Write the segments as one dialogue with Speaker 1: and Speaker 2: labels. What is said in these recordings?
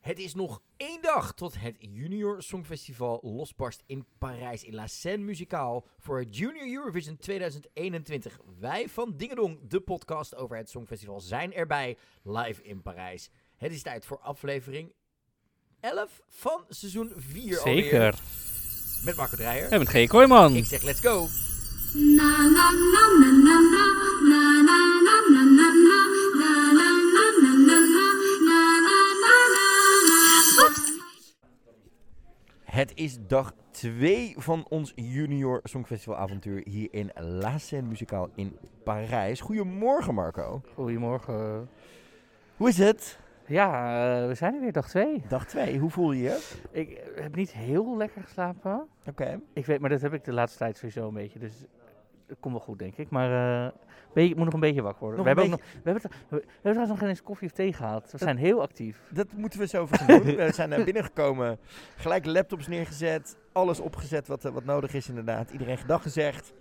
Speaker 1: Het is nog één dag tot het Junior Songfestival losbarst in Parijs in La Seine Musicaal voor het Junior Eurovision 2021. Wij van Dingedong, de podcast over het Songfestival, zijn erbij live in Parijs. Het is tijd voor aflevering 11 van seizoen 4
Speaker 2: Zeker.
Speaker 1: Met Marco Dreyer.
Speaker 2: En met G. Kooijman.
Speaker 1: Ik zeg let's go.
Speaker 3: Na na na na na na na na na na na na na na na na na na na na na na. Oeps.
Speaker 1: Het is dag 2 van ons Junior Songfestival avontuur hier in La Seine Musicaal in Parijs. Goedemorgen Marco.
Speaker 2: Goedemorgen.
Speaker 1: Hoe is het?
Speaker 2: Ja, eh, we zijn er weer, dag twee.
Speaker 1: Dag 2, hoe voel je je?
Speaker 2: Ik heb niet heel lekker geslapen.
Speaker 1: Oké.
Speaker 2: Ik weet, maar dat heb ik de laatste tijd sowieso een beetje. Dus dat komt wel goed, denk ik. Maar eh, beetje- ik moet nog een beetje wakker worden.
Speaker 1: Nog
Speaker 2: we,
Speaker 1: een
Speaker 2: hebben ook nog, we, hebben, tr- we we hebben trouwens nog geen eens koffie of thee gehad. We zijn heel actief.
Speaker 1: Dat moeten we zo gaan doen. We zijn naar binnen gekomen, gelijk laptops neergezet, alles opgezet wat, eh, wat nodig is inderdaad. Iedereen gedag gezegd.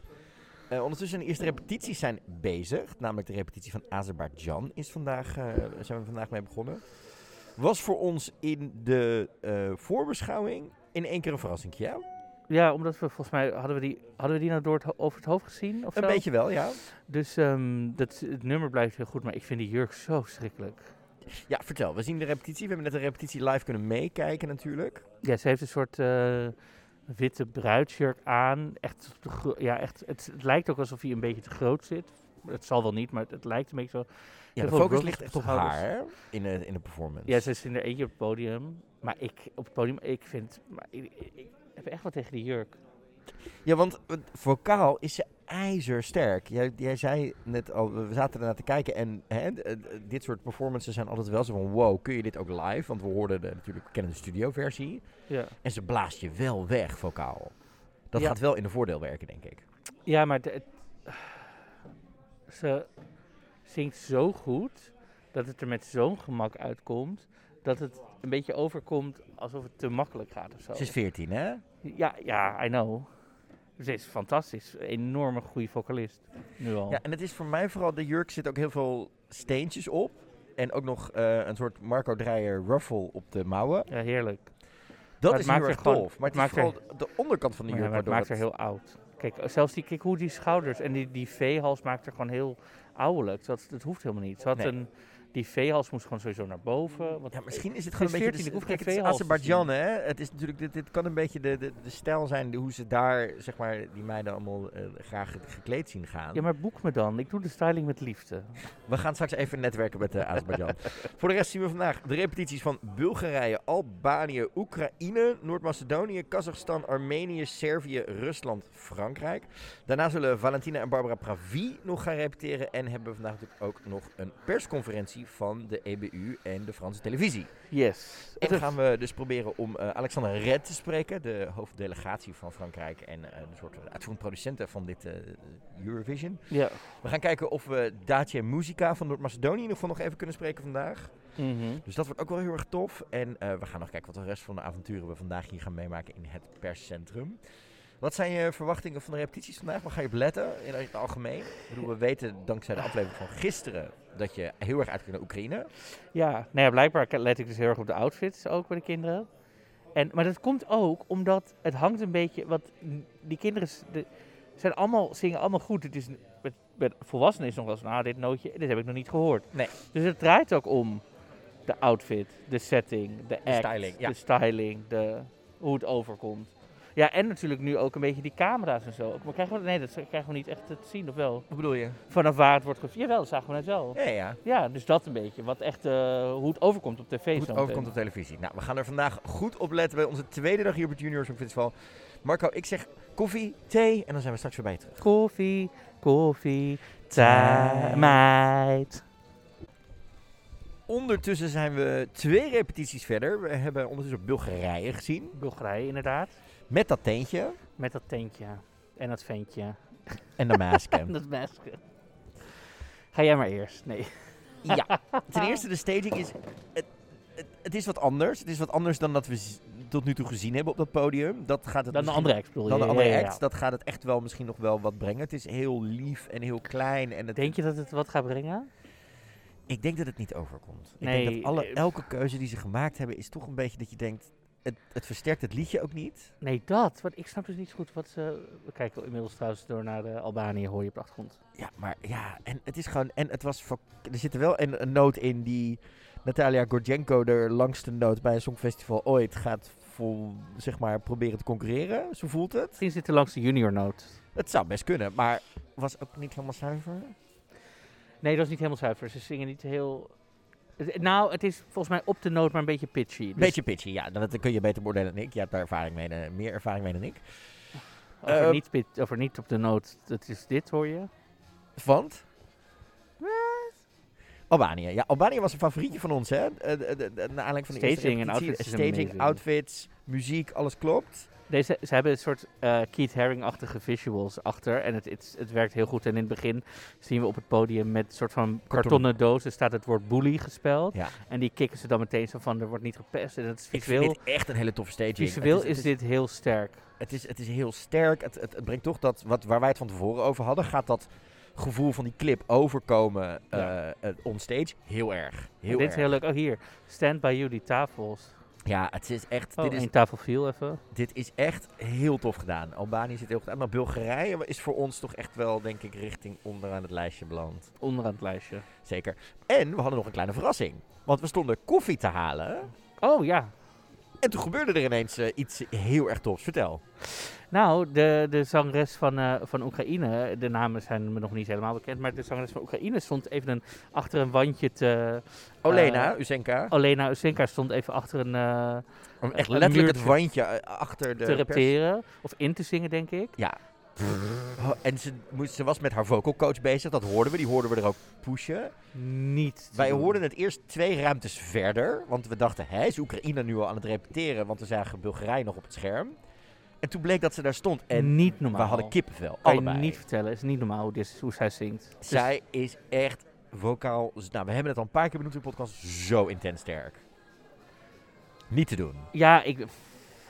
Speaker 1: Eh, ondertussen de eerste repetities zijn bezig, namelijk de repetitie van Azerbeidzjan is vandaag, eh, zijn we vandaag mee begonnen. Was voor ons in de eh, voorbeschouwing in één keer een verrassing, ja?
Speaker 2: Ja, omdat we volgens mij hadden we die, hadden we die nou door het, ho- over het hoofd gezien. Of
Speaker 1: Een
Speaker 2: zo?
Speaker 1: beetje wel, ja.
Speaker 2: Dus ehm, dat, het nummer blijft heel goed, maar ik vind die jurk zo schrikkelijk.
Speaker 1: Ja, vertel. We zien de repetitie. We hebben net de repetitie live kunnen meekijken natuurlijk.
Speaker 2: Ja, ze heeft een soort eh, witte bruidsjurk aan. Echt, te gro- ja, echt, het, het lijkt ook alsof hij een beetje te groot zit. Het zal wel niet, maar het, het lijkt een beetje zo.
Speaker 1: Ja,
Speaker 2: Heel
Speaker 1: de
Speaker 2: veel
Speaker 1: focus
Speaker 2: rollers
Speaker 1: ligt echt op
Speaker 2: op de schouders.
Speaker 1: haar hè, in de, in de performance.
Speaker 2: Ja, ze is in er eentje op het podium. Maar ik op het podium, ik vind. Maar ik, ik- ik heb echt wat tegen die jurk.
Speaker 1: Ja, want eh, vocaal is ze ijzersterk. Jij, jij zei net al, we zaten ernaar te kijken en hè, d- eh, dit soort performances zijn altijd wel zo van wow, kun je dit ook live? Want we hoorden de, natuurlijk, we kennen de studioversie.
Speaker 2: Ja,
Speaker 1: En ze blaast je wel weg, vocaal. Dat
Speaker 2: Ja.
Speaker 1: gaat wel in de voordeel werken, denk ik.
Speaker 2: ja maar de- het- ze zingt zo goed dat het er met zo'n gemak uitkomt. Dat het een beetje overkomt alsof het te makkelijk gaat of zo.
Speaker 1: Ze is 14, hè?
Speaker 2: Ja, ja, I know. Ze is fantastisch. Een enorme goede vocalist. Nu al.
Speaker 1: Ja, en het is voor mij vooral, de jurk zit ook heel veel steentjes op. En ook nog eh, een soort Marco Dreyer ruffle op de mouwen.
Speaker 2: Ja, heerlijk.
Speaker 1: Dat
Speaker 2: het
Speaker 1: is
Speaker 2: maakt
Speaker 1: heel
Speaker 2: er
Speaker 1: erg
Speaker 2: gewoon-
Speaker 1: tof. Maar het,
Speaker 2: het
Speaker 1: is vooral
Speaker 2: maakt
Speaker 1: de onderkant van de
Speaker 2: Maar, ja,
Speaker 1: jurk
Speaker 2: maar het
Speaker 1: waardoor
Speaker 2: maakt er heel oud. Kijk, eh, zelfs die, kijk hoe die schouders en die, die V-hals maakt er gewoon heel ouwelijk. Dat, dat hoeft helemaal niet. Ze had
Speaker 1: Nee.
Speaker 2: een, die V-hals moest gewoon sowieso naar boven. Want
Speaker 1: Ja, misschien is het
Speaker 2: Ze
Speaker 1: gewoon
Speaker 2: is
Speaker 1: een
Speaker 2: 14,
Speaker 1: beetje...
Speaker 2: ik
Speaker 1: De,
Speaker 2: hoef
Speaker 1: kijk,
Speaker 2: geen
Speaker 1: het is
Speaker 2: veehalsen te
Speaker 1: Azerbeidzjan, hè? Het is natuurlijk, dit, dit kan een beetje de, de, de stijl zijn de- hoe ze daar, zeg maar, die meiden allemaal eh, graag ge- gekleed zien gaan.
Speaker 2: Ja, maar boek me dan. Ik doe de styling met liefde.
Speaker 1: We gaan straks even netwerken met de Azerbeidzjan. Voor de rest zien we vandaag de repetities van Bulgarije, Albanië, Oekraïne, Noord-Macedonië, Kazachstan, Armenië, Servië, Rusland, Frankrijk. Daarna zullen Valentina en Barbara Pravi nog gaan repeteren. En hebben we vandaag natuurlijk ook nog een persconferentie van de EBU en de Franse televisie.
Speaker 2: Yes.
Speaker 1: En dan
Speaker 2: Het-
Speaker 1: gaan we dus proberen om eh, Alexander Red te spreken, de hoofddelegatie van Frankrijk en eh, een soort uitvoerend producenten van dit eh, Eurovision.
Speaker 2: Ja.
Speaker 1: We gaan kijken of we Dacia Musica van Noord-Macedonië in ieder geval nog even kunnen spreken vandaag.
Speaker 2: Mhm.
Speaker 1: Dus dat wordt ook wel heel erg tof. En eh, we gaan nog kijken wat de rest van de avonturen we vandaag hier gaan meemaken in het perscentrum. Wat zijn je verwachtingen van de repetities vandaag? Waar ga je op letten in het algemeen? Ik bedoel, we weten dankzij de aflevering van gisteren dat je heel erg uit kunt naar Oekraïne.
Speaker 2: Ja, nou ja, blijkbaar ke- let ik dus heel erg op de outfits ook bij de kinderen. En, maar dat komt ook omdat het hangt een beetje, wat die kinderen s- de- zijn allemaal, zingen allemaal goed. Het is, met, met volwassenen is nog wel eens, nou dit nootje, dit heb ik nog niet gehoord.
Speaker 1: Nee.
Speaker 2: Dus het draait ook om de outfit, de setting, de act,
Speaker 1: styling, ja.
Speaker 2: de styling, de, hoe het overkomt. Ja, en natuurlijk nu ook een beetje die camera's en zo. Maar krijgen we, nee, dat krijgen we niet echt te zien, of wel?
Speaker 1: Wat bedoel je?
Speaker 2: Vanaf waar het wordt gefilmd. Jawel, dat zagen we net wel.
Speaker 1: Ja, ja.
Speaker 2: Ja, dus dat een beetje. Wat echt, eh, hoe het overkomt op tv.
Speaker 1: Hoe het
Speaker 2: zometeen.
Speaker 1: overkomt op televisie. Nou, we gaan er vandaag goed op letten bij onze tweede dag hier op het Junior Song Festival. Marco, ik zeg koffie, thee en dan zijn we straks weer bij je terug.
Speaker 2: Koffie, koffie, tijd. meid.
Speaker 1: Ondertussen zijn we twee repetities verder. We hebben ondertussen Bulgarije gezien.
Speaker 2: Bulgarije inderdaad.
Speaker 1: Met dat teentje
Speaker 2: Met dat tentje en dat ventje.
Speaker 1: en de
Speaker 2: En
Speaker 1: masken.
Speaker 2: dat mesje. Ga jij maar eerst. Nee.
Speaker 1: ja, ten eerste de staging is... Het, het, het is wat anders. Het is wat anders dan dat we z- tot nu toe gezien hebben op dat podium. Dat gaat het
Speaker 2: Dan de
Speaker 1: misschien-
Speaker 2: andere act bedoel je?
Speaker 1: Dan de
Speaker 2: Ja,
Speaker 1: andere
Speaker 2: ja, ja.
Speaker 1: act. Dat gaat het echt wel misschien nog wel wat brengen. Het is heel lief en heel klein. En het,
Speaker 2: Denk je dat het wat gaat brengen?
Speaker 1: Ik denk dat het niet overkomt. Ik denk
Speaker 2: Nee,
Speaker 1: dat alle,
Speaker 2: eh,
Speaker 1: elke keuze die ze gemaakt hebben, is toch een beetje dat je denkt... Het, het versterkt het liedje ook niet.
Speaker 2: Nee, dat. Want ik snap dus niet zo goed wat ze... We kijken inmiddels trouwens door naar eh, Albanië, hoor je op de achtergrond.
Speaker 1: Ja, maar ja, en het is gewoon... En het was... voor- Er zit er wel een, een noot in die Natalia Gorjenko, de langste noot bij een songfestival ooit, gaat vol, zeg maar, proberen te concurreren. Zo voelt het.
Speaker 2: Misschien zit er langs de junior noot.
Speaker 1: Het zou best kunnen, maar was ook niet helemaal zuiver.
Speaker 2: Nee, dat is niet helemaal zuiver. Ze zingen niet heel... Het- Nou, het is volgens mij op de noot, maar een beetje pitchy. Dus
Speaker 1: Beetje pitchy, ja. Dat kun je beter beoordelen dan ik. Je hebt daar ervaring mee, eh, meer ervaring mee dan ik.
Speaker 2: Over,
Speaker 1: Eh,
Speaker 2: niet pit, over niet op de noot, dat is dit, hoor je.
Speaker 1: Want? Albanië. Ja, Albanië was een favorietje van ons, hè? Eh, de- de- de- Naar aanleiding van de eerste
Speaker 2: Staging en
Speaker 1: repetitie.
Speaker 2: outfits is
Speaker 1: Staging,
Speaker 2: amazing.
Speaker 1: outfits, muziek, alles klopt.
Speaker 2: Deze, ze hebben een soort eh Keith Haring-achtige visuals achter. En het, het, het werkt heel goed. En in het begin zien we op het podium met een soort van kartonnen dozen staat het woord bully gespeld.
Speaker 1: Ja.
Speaker 2: En die kicken ze dan meteen zo van, er wordt niet gepest. En het is
Speaker 1: Ik
Speaker 2: visueel,
Speaker 1: vind dit echt een hele toffe staging.
Speaker 2: visueel
Speaker 1: het
Speaker 2: is,
Speaker 1: is, het
Speaker 2: dit heel sterk.
Speaker 1: Het is, het is heel sterk. Het, het, het brengt toch dat, wat, waar wij het van tevoren over hadden, gaat dat gevoel van die clip overkomen eh
Speaker 2: Ja.
Speaker 1: eh, onstage. Heel erg. Heel
Speaker 2: dit
Speaker 1: erg.
Speaker 2: is heel leuk. Oh, hier. Stand by you, die tafels.
Speaker 1: Ja, het is echt...
Speaker 2: Oh,
Speaker 1: dit,
Speaker 2: dit
Speaker 1: is,
Speaker 2: tafel viel even.
Speaker 1: dit is echt heel tof gedaan. Albanië zit heel goed aan. Maar Bulgarije is voor ons toch echt wel, denk ik, richting onderaan het lijstje beland.
Speaker 2: Onderaan het lijstje.
Speaker 1: Zeker. En we hadden nog een kleine verrassing. Want we stonden koffie te halen.
Speaker 2: Oh, ja.
Speaker 1: En toen gebeurde er ineens eh, iets heel erg tofs. Vertel.
Speaker 2: Nou, de, de zangeres van, eh, van Oekraïne, de namen zijn me nog niet helemaal bekend, maar de zangeres van Oekraïne stond even een, achter een wandje te... eh,
Speaker 1: Olena, Uzenka.
Speaker 2: Olena Oh, Usenka stond even achter een... eh,
Speaker 1: om echt
Speaker 2: een
Speaker 1: letterlijk het
Speaker 2: muurtje
Speaker 1: wandje eh, achter de
Speaker 2: te
Speaker 1: pers-
Speaker 2: repeteren. Of in te zingen, denk ik.
Speaker 1: Ja. Oh, En ze, moest, ze was met haar vocal coach bezig. Dat hoorden we. Die hoorden we er ook pushen.
Speaker 2: Niet. te
Speaker 1: Wij
Speaker 2: doen.
Speaker 1: hoorden het eerst twee ruimtes verder. Want we dachten, hè, is Oekraïne nu al aan het repeteren? Want we zagen Bulgarije nog op het scherm. En toen bleek dat ze daar stond. En
Speaker 2: niet normaal.
Speaker 1: we hadden kippenvel.
Speaker 2: Kan je
Speaker 1: allebei.
Speaker 2: niet vertellen. Het is niet normaal hoe, dit, is- hoe zij zingt. Dus
Speaker 1: Zij is echt vocaal. Nou, we hebben het al een paar keer benoemd in de podcast. Zo intens sterk. Niet te doen.
Speaker 2: ja, ik,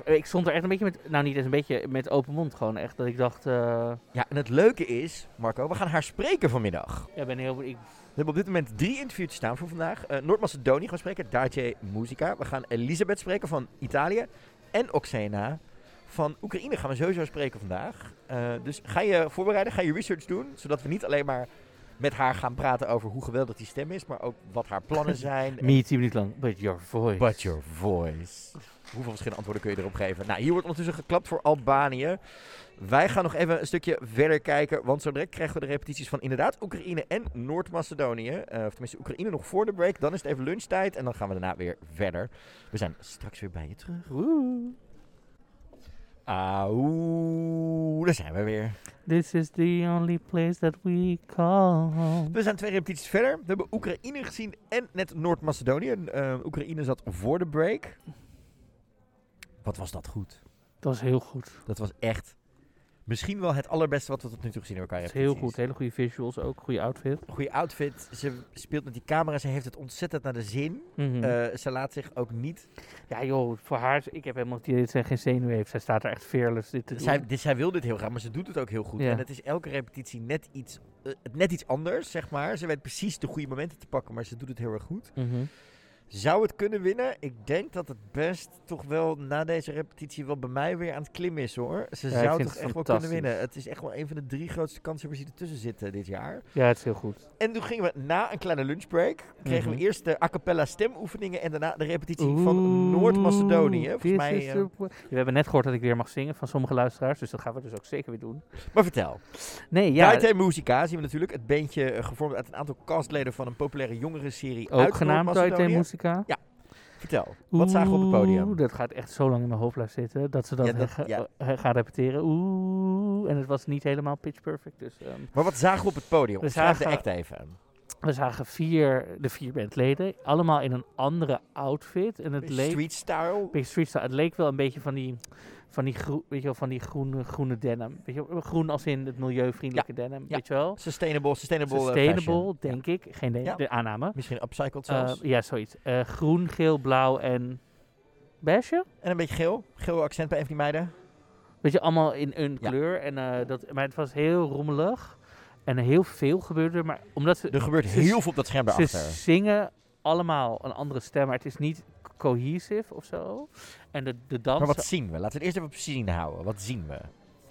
Speaker 2: ik stond er echt een beetje met... Nou, niet eens een beetje met open mond gewoon. Echt dat ik dacht... eh,
Speaker 1: Ja, en het leuke is, Marco, we gaan haar spreken vanmiddag.
Speaker 2: ja, ik ben heel... Ik,
Speaker 1: We hebben op dit moment drie interviews staan voor vandaag. Eh, Noord-Macedonië gaan we spreken, Dace Musica. We gaan Elisabeth spreken van Italië. En Oxena van Oekraïne gaan we sowieso spreken vandaag. Eh, dus ga je voorbereiden, ga je research doen. Zodat we niet alleen maar met haar gaan praten over hoe geweldig die stem is. Maar ook wat haar plannen zijn.
Speaker 2: me, tien minuten lang. But your voice.
Speaker 1: But your voice. Hoeveel verschillende antwoorden kun je erop geven? Nou, hier wordt ondertussen geklapt voor Albanië. Wij gaan nog even een stukje verder kijken. Want zo direct krijgen we de repetities van inderdaad Oekraïne en Noord-Macedonië. Eh, of tenminste, Oekraïne nog voor de break. Dan is het even lunchtijd. En dan gaan we daarna weer verder. We zijn straks weer bij je terug.
Speaker 2: Woe.
Speaker 1: Auw, daar zijn we weer.
Speaker 2: This is the only place that we call home.
Speaker 1: We zijn twee repetities verder. We hebben Oekraïne gezien en net Noord-Macedonië. Eh, Oekraïne zat voor de break. Wat was dat goed?
Speaker 2: Dat is heel goed.
Speaker 1: Dat was echt misschien wel het allerbeste wat we tot nu toe gezien hebben.
Speaker 2: Dat is
Speaker 1: elkaar.
Speaker 2: heel goed. Hele goede visuals ook. Goede outfit.
Speaker 1: Goede outfit. Ze speelt met die camera. Ze heeft het ontzettend naar de zin.
Speaker 2: Mhm.
Speaker 1: Eh, ze laat zich ook niet.
Speaker 2: ja joh, voor haar, ik heb helemaal het idee dat zij geen zenuw heeft. Zij staat er echt fearless dit te doen.
Speaker 1: Zij, dit- zij wil dit heel graag, maar ze doet het ook heel goed.
Speaker 2: Ja.
Speaker 1: En het is elke repetitie net iets, eh, net iets anders, zeg maar. Ze weet precies de goede momenten te pakken, maar ze doet het heel erg goed.
Speaker 2: Mhm.
Speaker 1: Zou het kunnen winnen? Ik denk dat het best toch wel na deze repetitie wel bij mij weer aan het klimmen is hoor. Ze
Speaker 2: Ja, ik
Speaker 1: zou toch
Speaker 2: vind het
Speaker 1: echt wel kunnen
Speaker 2: fantastisch.
Speaker 1: winnen. Het is echt wel een van de drie grootste kanshebbers die ertussen zitten dit jaar.
Speaker 2: Ja, het is heel goed.
Speaker 1: En toen gingen we na een kleine lunchbreak. Kregen we
Speaker 2: Mhm.
Speaker 1: eerst de a cappella stemoefeningen. En daarna de repetitie van Noord-Macedonië. Volgens
Speaker 2: This
Speaker 1: mij.
Speaker 2: is
Speaker 1: eh,
Speaker 2: the way- We hebben net gehoord dat ik weer mag zingen van sommige luisteraars. Dus dat gaan we dus ook zeker weer doen.
Speaker 1: Maar vertel.
Speaker 2: Nee,
Speaker 1: Ja,
Speaker 2: ja.
Speaker 1: Daite Musica zien we natuurlijk. Het bandje eh, gevormd uit een aantal castleden van een populaire jongerenserie.
Speaker 2: ook
Speaker 1: uit
Speaker 2: genaamd Daite
Speaker 1: Noord-Macedonië.
Speaker 2: Musica.
Speaker 1: Vertel. Wat zagen we op het
Speaker 2: Oeh,
Speaker 1: podium?
Speaker 2: dat gaat echt zo lang in mijn hoofd blijven zitten. Dat ze dat,
Speaker 1: Ja, dat-
Speaker 2: he-
Speaker 1: ja.
Speaker 2: he- gaan repeteren. Oeh. En het was niet helemaal pitch perfect. Dus ehm,
Speaker 1: Maar wat zagen we op het podium?
Speaker 2: We
Speaker 1: Omschrijf de
Speaker 2: zagen-
Speaker 1: act even.
Speaker 2: we zagen vier, de vier bandleden. Allemaal in een andere outfit. En het leek
Speaker 1: Street style.
Speaker 2: Big Street Style. Het leek wel een beetje van die, van die, groe- weet je wel, van die groene, groene denim. Weet je, wel, groen als in het milieuvriendelijke denim,
Speaker 1: ja.
Speaker 2: weet je wel?
Speaker 1: Sustainable, sustainable, eh, fashion.
Speaker 2: Sustainable, denk ik. Geen idee,
Speaker 1: Ja.
Speaker 2: de aanname.
Speaker 1: Misschien upcycled
Speaker 2: Eh,
Speaker 1: zelfs.
Speaker 2: ja, zoiets. Eh, groen, geel, blauw en beige.
Speaker 1: en een beetje geel. Geel accent bij een van die meiden.
Speaker 2: Weet je, allemaal in een
Speaker 1: Ja.
Speaker 2: kleur. En, eh, dat, maar het was heel rommelig. En heel veel gebeurde er, maar omdat ze,
Speaker 1: Er gebeurt
Speaker 2: ze-
Speaker 1: heel veel op dat scherm
Speaker 2: ze
Speaker 1: daarachter.
Speaker 2: zingen allemaal een andere stem, maar het is niet cohesive of zo. En de, de
Speaker 1: Maar
Speaker 2: dansen,
Speaker 1: wat zien we? Laten we het eerst even op zien houden. Wat zien we?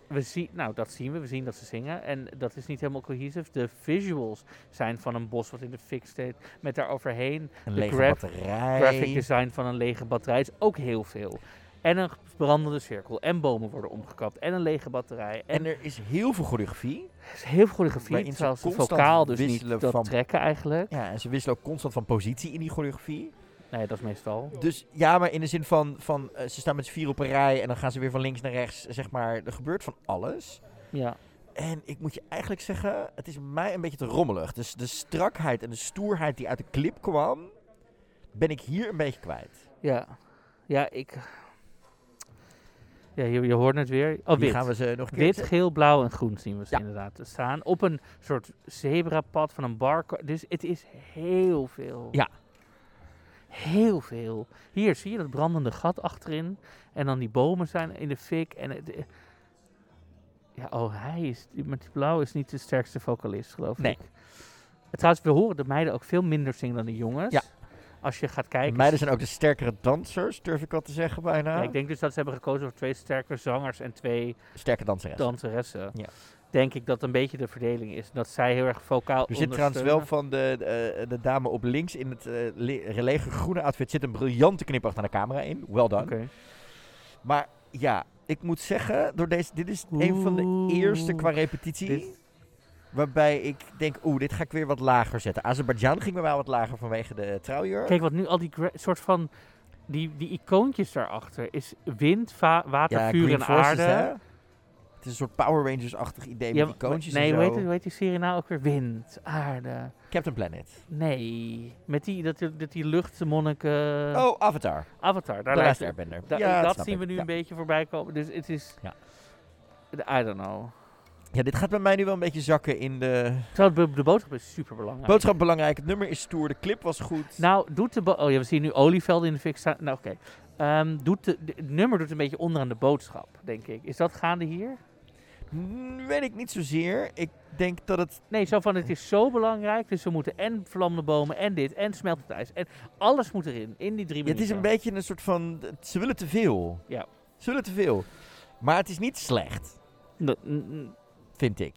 Speaker 2: we zien, nou dat zien we, we zien dat ze zingen en dat is niet helemaal cohesive. De visuals zijn van een bos wat in de fik steekt, met daaroverheen
Speaker 1: Een
Speaker 2: De
Speaker 1: lege
Speaker 2: graf-
Speaker 1: batterij.
Speaker 2: graphic design van een lege batterij is ook heel veel. En een brandende cirkel, en bomen worden omgekapt, en een lege batterij, en
Speaker 1: En er is heel veel choreografie.
Speaker 2: Het is heel veel choreografie,
Speaker 1: Waarin ze
Speaker 2: terwijl ze
Speaker 1: constant
Speaker 2: vocaal dus
Speaker 1: wisselen
Speaker 2: niet dat
Speaker 1: van-
Speaker 2: trekken eigenlijk.
Speaker 1: Ja, en ze wisselen ook constant van positie in die choreografie.
Speaker 2: Nee, dat is meestal.
Speaker 1: Dus ja, maar in de zin van, van eh, ze staan met z'n vier op een rij en dan gaan ze weer van links naar rechts. Zeg maar, er gebeurt van alles.
Speaker 2: Ja.
Speaker 1: En ik moet je eigenlijk zeggen, het is mij een beetje te rommelig. Dus de strakheid en de stoerheid die uit de clip kwam, ben ik hier een beetje kwijt.
Speaker 2: Ja. Ja, ik... Ja, je, je hoort het weer.
Speaker 1: Die
Speaker 2: Oh, wit.
Speaker 1: gaan we ze nog een keer...
Speaker 2: Wit, geel, blauw en groen zien we ze
Speaker 1: Ja.
Speaker 2: inderdaad staan. Op een soort zebrapad van een bar. Dus het is heel veel.
Speaker 1: Ja.
Speaker 2: Heel veel. Hier zie je dat brandende gat achterin. En dan die bomen zijn in de fik. En het, eh, ja, oh, hij is. die- Met die blauw is niet de sterkste vocalist, geloof
Speaker 1: Nee.
Speaker 2: ik. En Trouwens, we horen de meiden ook veel minder zingen dan de jongens.
Speaker 1: Ja.
Speaker 2: Als je gaat
Speaker 1: De
Speaker 2: kijken.
Speaker 1: meiden zijn ook de sterkere dansers, durf ik al te zeggen bijna.
Speaker 2: Ja, ik denk dus dat ze hebben gekozen voor twee sterke zangers en twee
Speaker 1: Sterke danseres.
Speaker 2: danseressen.
Speaker 1: Ja.
Speaker 2: Denk ik dat een beetje de verdeling is. Dat zij heel erg vocaal
Speaker 1: Er zit trouwens wel
Speaker 2: ondersteunen.
Speaker 1: van de, de, de dame op links in het eh, le- lege groene outfit zit een briljante knipoog naar de camera in. Well done.
Speaker 2: Oké.
Speaker 1: Maar ja, ik moet zeggen, door deze, dit is een van de
Speaker 2: Oeh.
Speaker 1: eerste qua repetitie.
Speaker 2: Dit-
Speaker 1: Waarbij ik denk, oeh, dit ga ik weer wat lager zetten. Azerbeidzjan ging me wel wat lager vanwege de trouwjurk.
Speaker 2: Kijk, wat nu al die gra- soort van... Die, die icoontjes daarachter is wind, va- water,
Speaker 1: ja,
Speaker 2: vuur
Speaker 1: Green
Speaker 2: en
Speaker 1: Forces,
Speaker 2: aarde.
Speaker 1: hè? Het is een soort Power Rangers-achtig idee
Speaker 2: Ja,
Speaker 1: met icoontjes
Speaker 2: nee,
Speaker 1: en
Speaker 2: hoe
Speaker 1: zo.
Speaker 2: heet, het- hoe heet die serie nou ook weer? Wind, aarde.
Speaker 1: Captain Planet.
Speaker 2: Nee, met die, dat, dat die luchtmonniken...
Speaker 1: oh, Avatar.
Speaker 2: Avatar, Eh. daar
Speaker 1: de
Speaker 2: lijkt
Speaker 1: laatste
Speaker 2: het.
Speaker 1: Airbender.
Speaker 2: Da-
Speaker 1: ja,
Speaker 2: dat
Speaker 1: snap
Speaker 2: zien
Speaker 1: ik.
Speaker 2: we nu
Speaker 1: Ja.
Speaker 2: een beetje voorbij komen. Dus het is...
Speaker 1: Ja.
Speaker 2: I don't know.
Speaker 1: Ja, dit gaat bij mij nu wel een beetje zakken in de...
Speaker 2: Terwijl de, de boodschap is super belangrijk.
Speaker 1: Nou. Boodschap belangrijk, het nummer is stoer, de clip was goed.
Speaker 2: Nou, doet de... bo- Oh ja, we zien nu olievelden in de fik staan. Nou, oké. Ehm, doet de, de- het nummer doet een beetje onder aan de boodschap, denk ik. Is dat gaande hier?
Speaker 1: Mm, Weet ik niet zozeer. Ik denk dat het...
Speaker 2: Nee, zo van het is zo belangrijk, dus we moeten en vlammende bomen en dit en smeltend ijs. En alles moet erin, in die drie
Speaker 1: Ja, het
Speaker 2: minuten.
Speaker 1: is een beetje een soort van... Ze willen te veel.
Speaker 2: Ja.
Speaker 1: Ze willen te veel. Maar het is niet slecht,
Speaker 2: N- n- n-
Speaker 1: vind ik.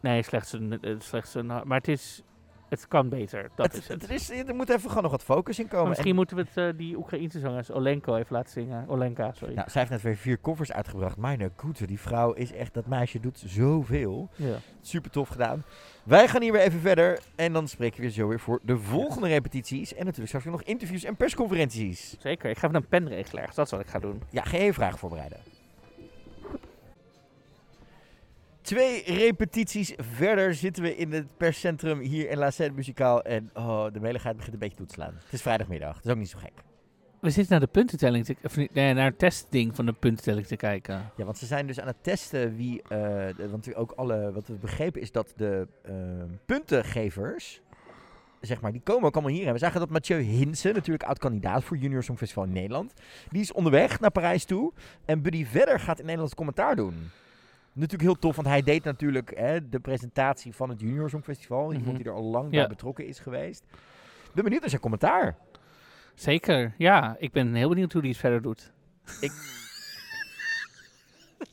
Speaker 2: Nee, slechts een, eh, slechts een... Maar het is... Het kan beter, dat
Speaker 1: het,
Speaker 2: is het.
Speaker 1: het is, er moet even gewoon nog wat focus in
Speaker 2: Maar
Speaker 1: komen.
Speaker 2: misschien moeten we het, eh, die Oekraïense zangeres Olenko even laten zingen. Olenka, sorry.
Speaker 1: En- nou, zij heeft net weer vier covers uitgebracht. Mijn goede, die vrouw is echt... Dat meisje doet zoveel.
Speaker 2: Ja.
Speaker 1: Super tof gedaan. Wij gaan hier weer even verder. En dan spreken we je zo weer voor de volgende repetities. En natuurlijk straks weer nog interviews en persconferenties.
Speaker 2: Zeker, ik ga even een pen regelen ergens. Dat is wat ik ga doen.
Speaker 1: Ja, ga je vragen voorbereiden. Twee repetities verder zitten we in het perscentrum hier in La Seine Muzikaal. En oh, de meligheid begint een beetje toe te slaan. Het is vrijdagmiddag, dat is ook niet zo gek.
Speaker 2: We zitten naar de puntentelling, te, of niet, nee, naar het testding van de puntentelling te kijken.
Speaker 1: Ja, want ze zijn dus aan het testen wie... eh, de- want ook alle, wat we begrepen is dat de eh, puntengevers... Zeg maar, die komen ook allemaal hier. En we zagen dat Mathieu Hinsen, natuurlijk oud-kandidaat voor Junior Songfestival in Nederland... Die is onderweg naar Parijs toe. En Buddy Verder gaat in Nederland commentaar doen. Natuurlijk heel tof, want hij deed natuurlijk hè, de presentatie van het Junior Songfestival. Iemand
Speaker 2: Mhm.
Speaker 1: die er al lang
Speaker 2: Ja.
Speaker 1: bij betrokken is geweest. Ik ben benieuwd naar zijn commentaar.
Speaker 2: Zeker, ja. Ik ben heel benieuwd hoe die het verder doet.
Speaker 1: Ik-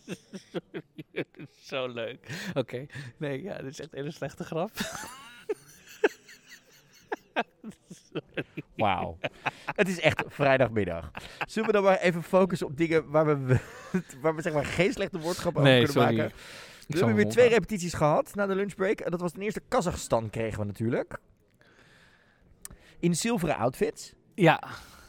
Speaker 2: Het is Zo leuk. Oké. Nee, ja, dit is echt een hele slechte grap.
Speaker 1: Wauw. het is echt vrijdagmiddag. Zullen we dan maar even focussen op dingen waar we, waar we zeg maar geen slechte woordgrappen
Speaker 2: Nee,
Speaker 1: over kunnen
Speaker 2: sorry.
Speaker 1: maken? We hebben
Speaker 2: zal mijn
Speaker 1: weer
Speaker 2: mond
Speaker 1: twee
Speaker 2: houden.
Speaker 1: repetities gehad na de lunchbreak. En Dat was ten eerste Kazachstan kregen we natuurlijk. In zilveren outfits.
Speaker 2: Ja,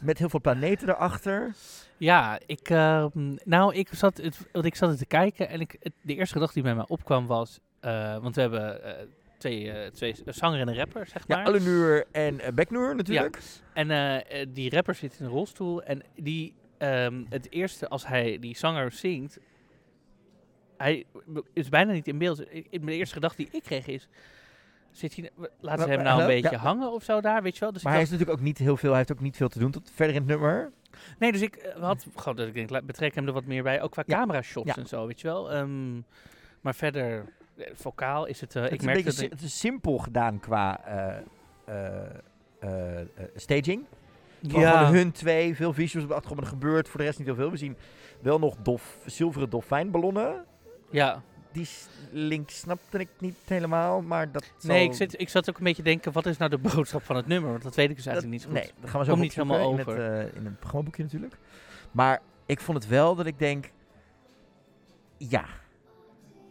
Speaker 1: Met heel veel planeten erachter.
Speaker 2: ja ik, ehm, nou, ik zat, het, want ik zat het te kijken en ik, het- de eerste gedachte die bij mij opkwam was, eh, want we hebben eh, twee, eh, twee een zanger en een rapper, zeg maar.
Speaker 1: Ja, Allenur en eh, Beknur natuurlijk.
Speaker 2: En eh, eh, die rapper zit in een rolstoel. En die, ehm, het eerste, als hij die zanger zingt. Hij is bijna niet in beeld. Ik- ik- Mijn eerste gedachte die ik kreeg is. Zit hij, laten ze hem nou een
Speaker 1: Hallo?
Speaker 2: beetje
Speaker 1: Ja.
Speaker 2: hangen of zo daar, weet je wel? Dus
Speaker 1: Maar
Speaker 2: ik
Speaker 1: hij
Speaker 2: dacht-
Speaker 1: is natuurlijk ook niet heel veel. Hij heeft ook niet veel te doen tot verder in het nummer.
Speaker 2: Nee, dus ik eh, had gewoon dat ik denk, la- betrek hem er wat meer bij. Ook qua
Speaker 1: Ja.
Speaker 2: camera shots
Speaker 1: Ja.
Speaker 2: en zo, weet je wel. Ehm, maar verder, eh, vocaal is het... eh,
Speaker 1: het
Speaker 2: ik
Speaker 1: is een
Speaker 2: merk dat
Speaker 1: beetje si- het is simpel gedaan qua eh, eh, eh, eh, staging. Van gewoon hun twee, veel visuals op de achtergrond. maar Er gebeurt voor de rest niet heel veel. We zien wel nog dof, zilveren dolfijnballonnen.
Speaker 2: ja.
Speaker 1: Die s- link snapte ik niet helemaal, maar dat zal-
Speaker 2: Nee, ik, zit, ik zat ook een beetje te denken, wat is nou de boodschap van het nummer? Want dat weet ik dus
Speaker 1: dat-
Speaker 2: eigenlijk niet zo
Speaker 1: Nee,
Speaker 2: goed.
Speaker 1: dat gaan we zo
Speaker 2: Komt niet
Speaker 1: opzoeken
Speaker 2: helemaal
Speaker 1: In het, eh, in het programmaboekje natuurlijk. Maar ik vond het wel dat ik denk... Ja,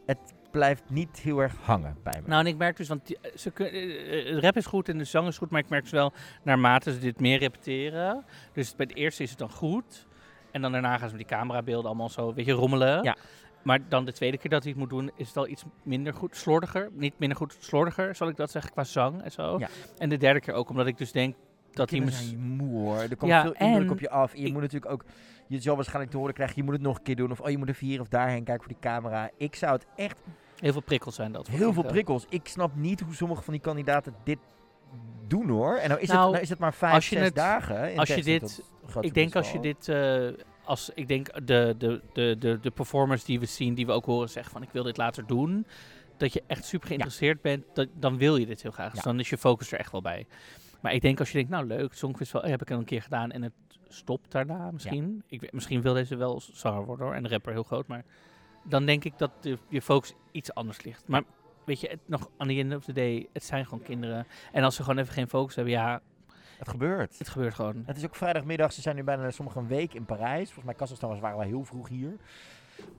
Speaker 1: het blijft niet heel erg hangen bij me.
Speaker 2: Nou, en ik merk dus, want die- eh, ze kun- eh, eh, rap is goed en de zang is goed, maar ik merk dus wel, naarmate ze dit meer repeteren, dus bij het eerste is het dan goed, en dan daarna gaan ze met die camerabeelden allemaal zo een beetje rommelen.
Speaker 1: Ja.
Speaker 2: Maar dan de tweede keer dat hij het moet doen, is het al iets minder goed, slordiger. Niet minder goed, slordiger, zal ik dat zeggen, qua zang en zo.
Speaker 1: Ja.
Speaker 2: En de derde keer ook, omdat ik dus denk dat hij...
Speaker 1: Kinderen
Speaker 2: mis-
Speaker 1: zijn moe hoor. Er komt
Speaker 2: Ja,
Speaker 1: veel indruk
Speaker 2: en
Speaker 1: op je af. Je
Speaker 2: ik-
Speaker 1: moet natuurlijk ook, je zal waarschijnlijk te horen krijgen, je moet het nog een keer doen. Of oh, je moet even hier of daarheen kijken voor die camera. Ik zou het echt,
Speaker 2: Heel veel prikkels zijn dat.
Speaker 1: heel veel prikkels. Ik snap niet hoe sommige van die kandidaten dit doen hoor. En nou is, het,
Speaker 2: Nou,
Speaker 1: nou is het maar vijf,
Speaker 2: als je
Speaker 1: zes
Speaker 2: het-
Speaker 1: dagen. in
Speaker 2: als je
Speaker 1: tegenstelling
Speaker 2: dit-
Speaker 1: tot het grootste
Speaker 2: Ik denk als je
Speaker 1: festival.
Speaker 2: dit... eh, als, ik denk de, de, de, de, de performers die we zien, die we ook horen zeggen van ik wil dit later doen. Dat je echt super geïnteresseerd bent, dat, dan wil je dit heel graag. Dus
Speaker 1: Ja.
Speaker 2: dan is je focus er echt wel bij. Maar ik denk als je denkt, nou leuk, Songquiz wel, eh, heb ik al een keer gedaan en het stopt daarna misschien. Ik, weet- misschien wil deze wel zanger worden hoor, en de rapper heel groot. Maar dan denk ik dat de- je focus iets anders ligt. Maar weet je, het, nog aan de end of the day, het zijn gewoon kinderen. En als ze gewoon even geen focus hebben, ja,
Speaker 1: Het gebeurt.
Speaker 2: het gebeurt gewoon.
Speaker 1: Het is ook vrijdagmiddag. Ze zijn nu bijna sommigen een week in Parijs. Volgens mij Kazachstan was- waren wel heel vroeg hier.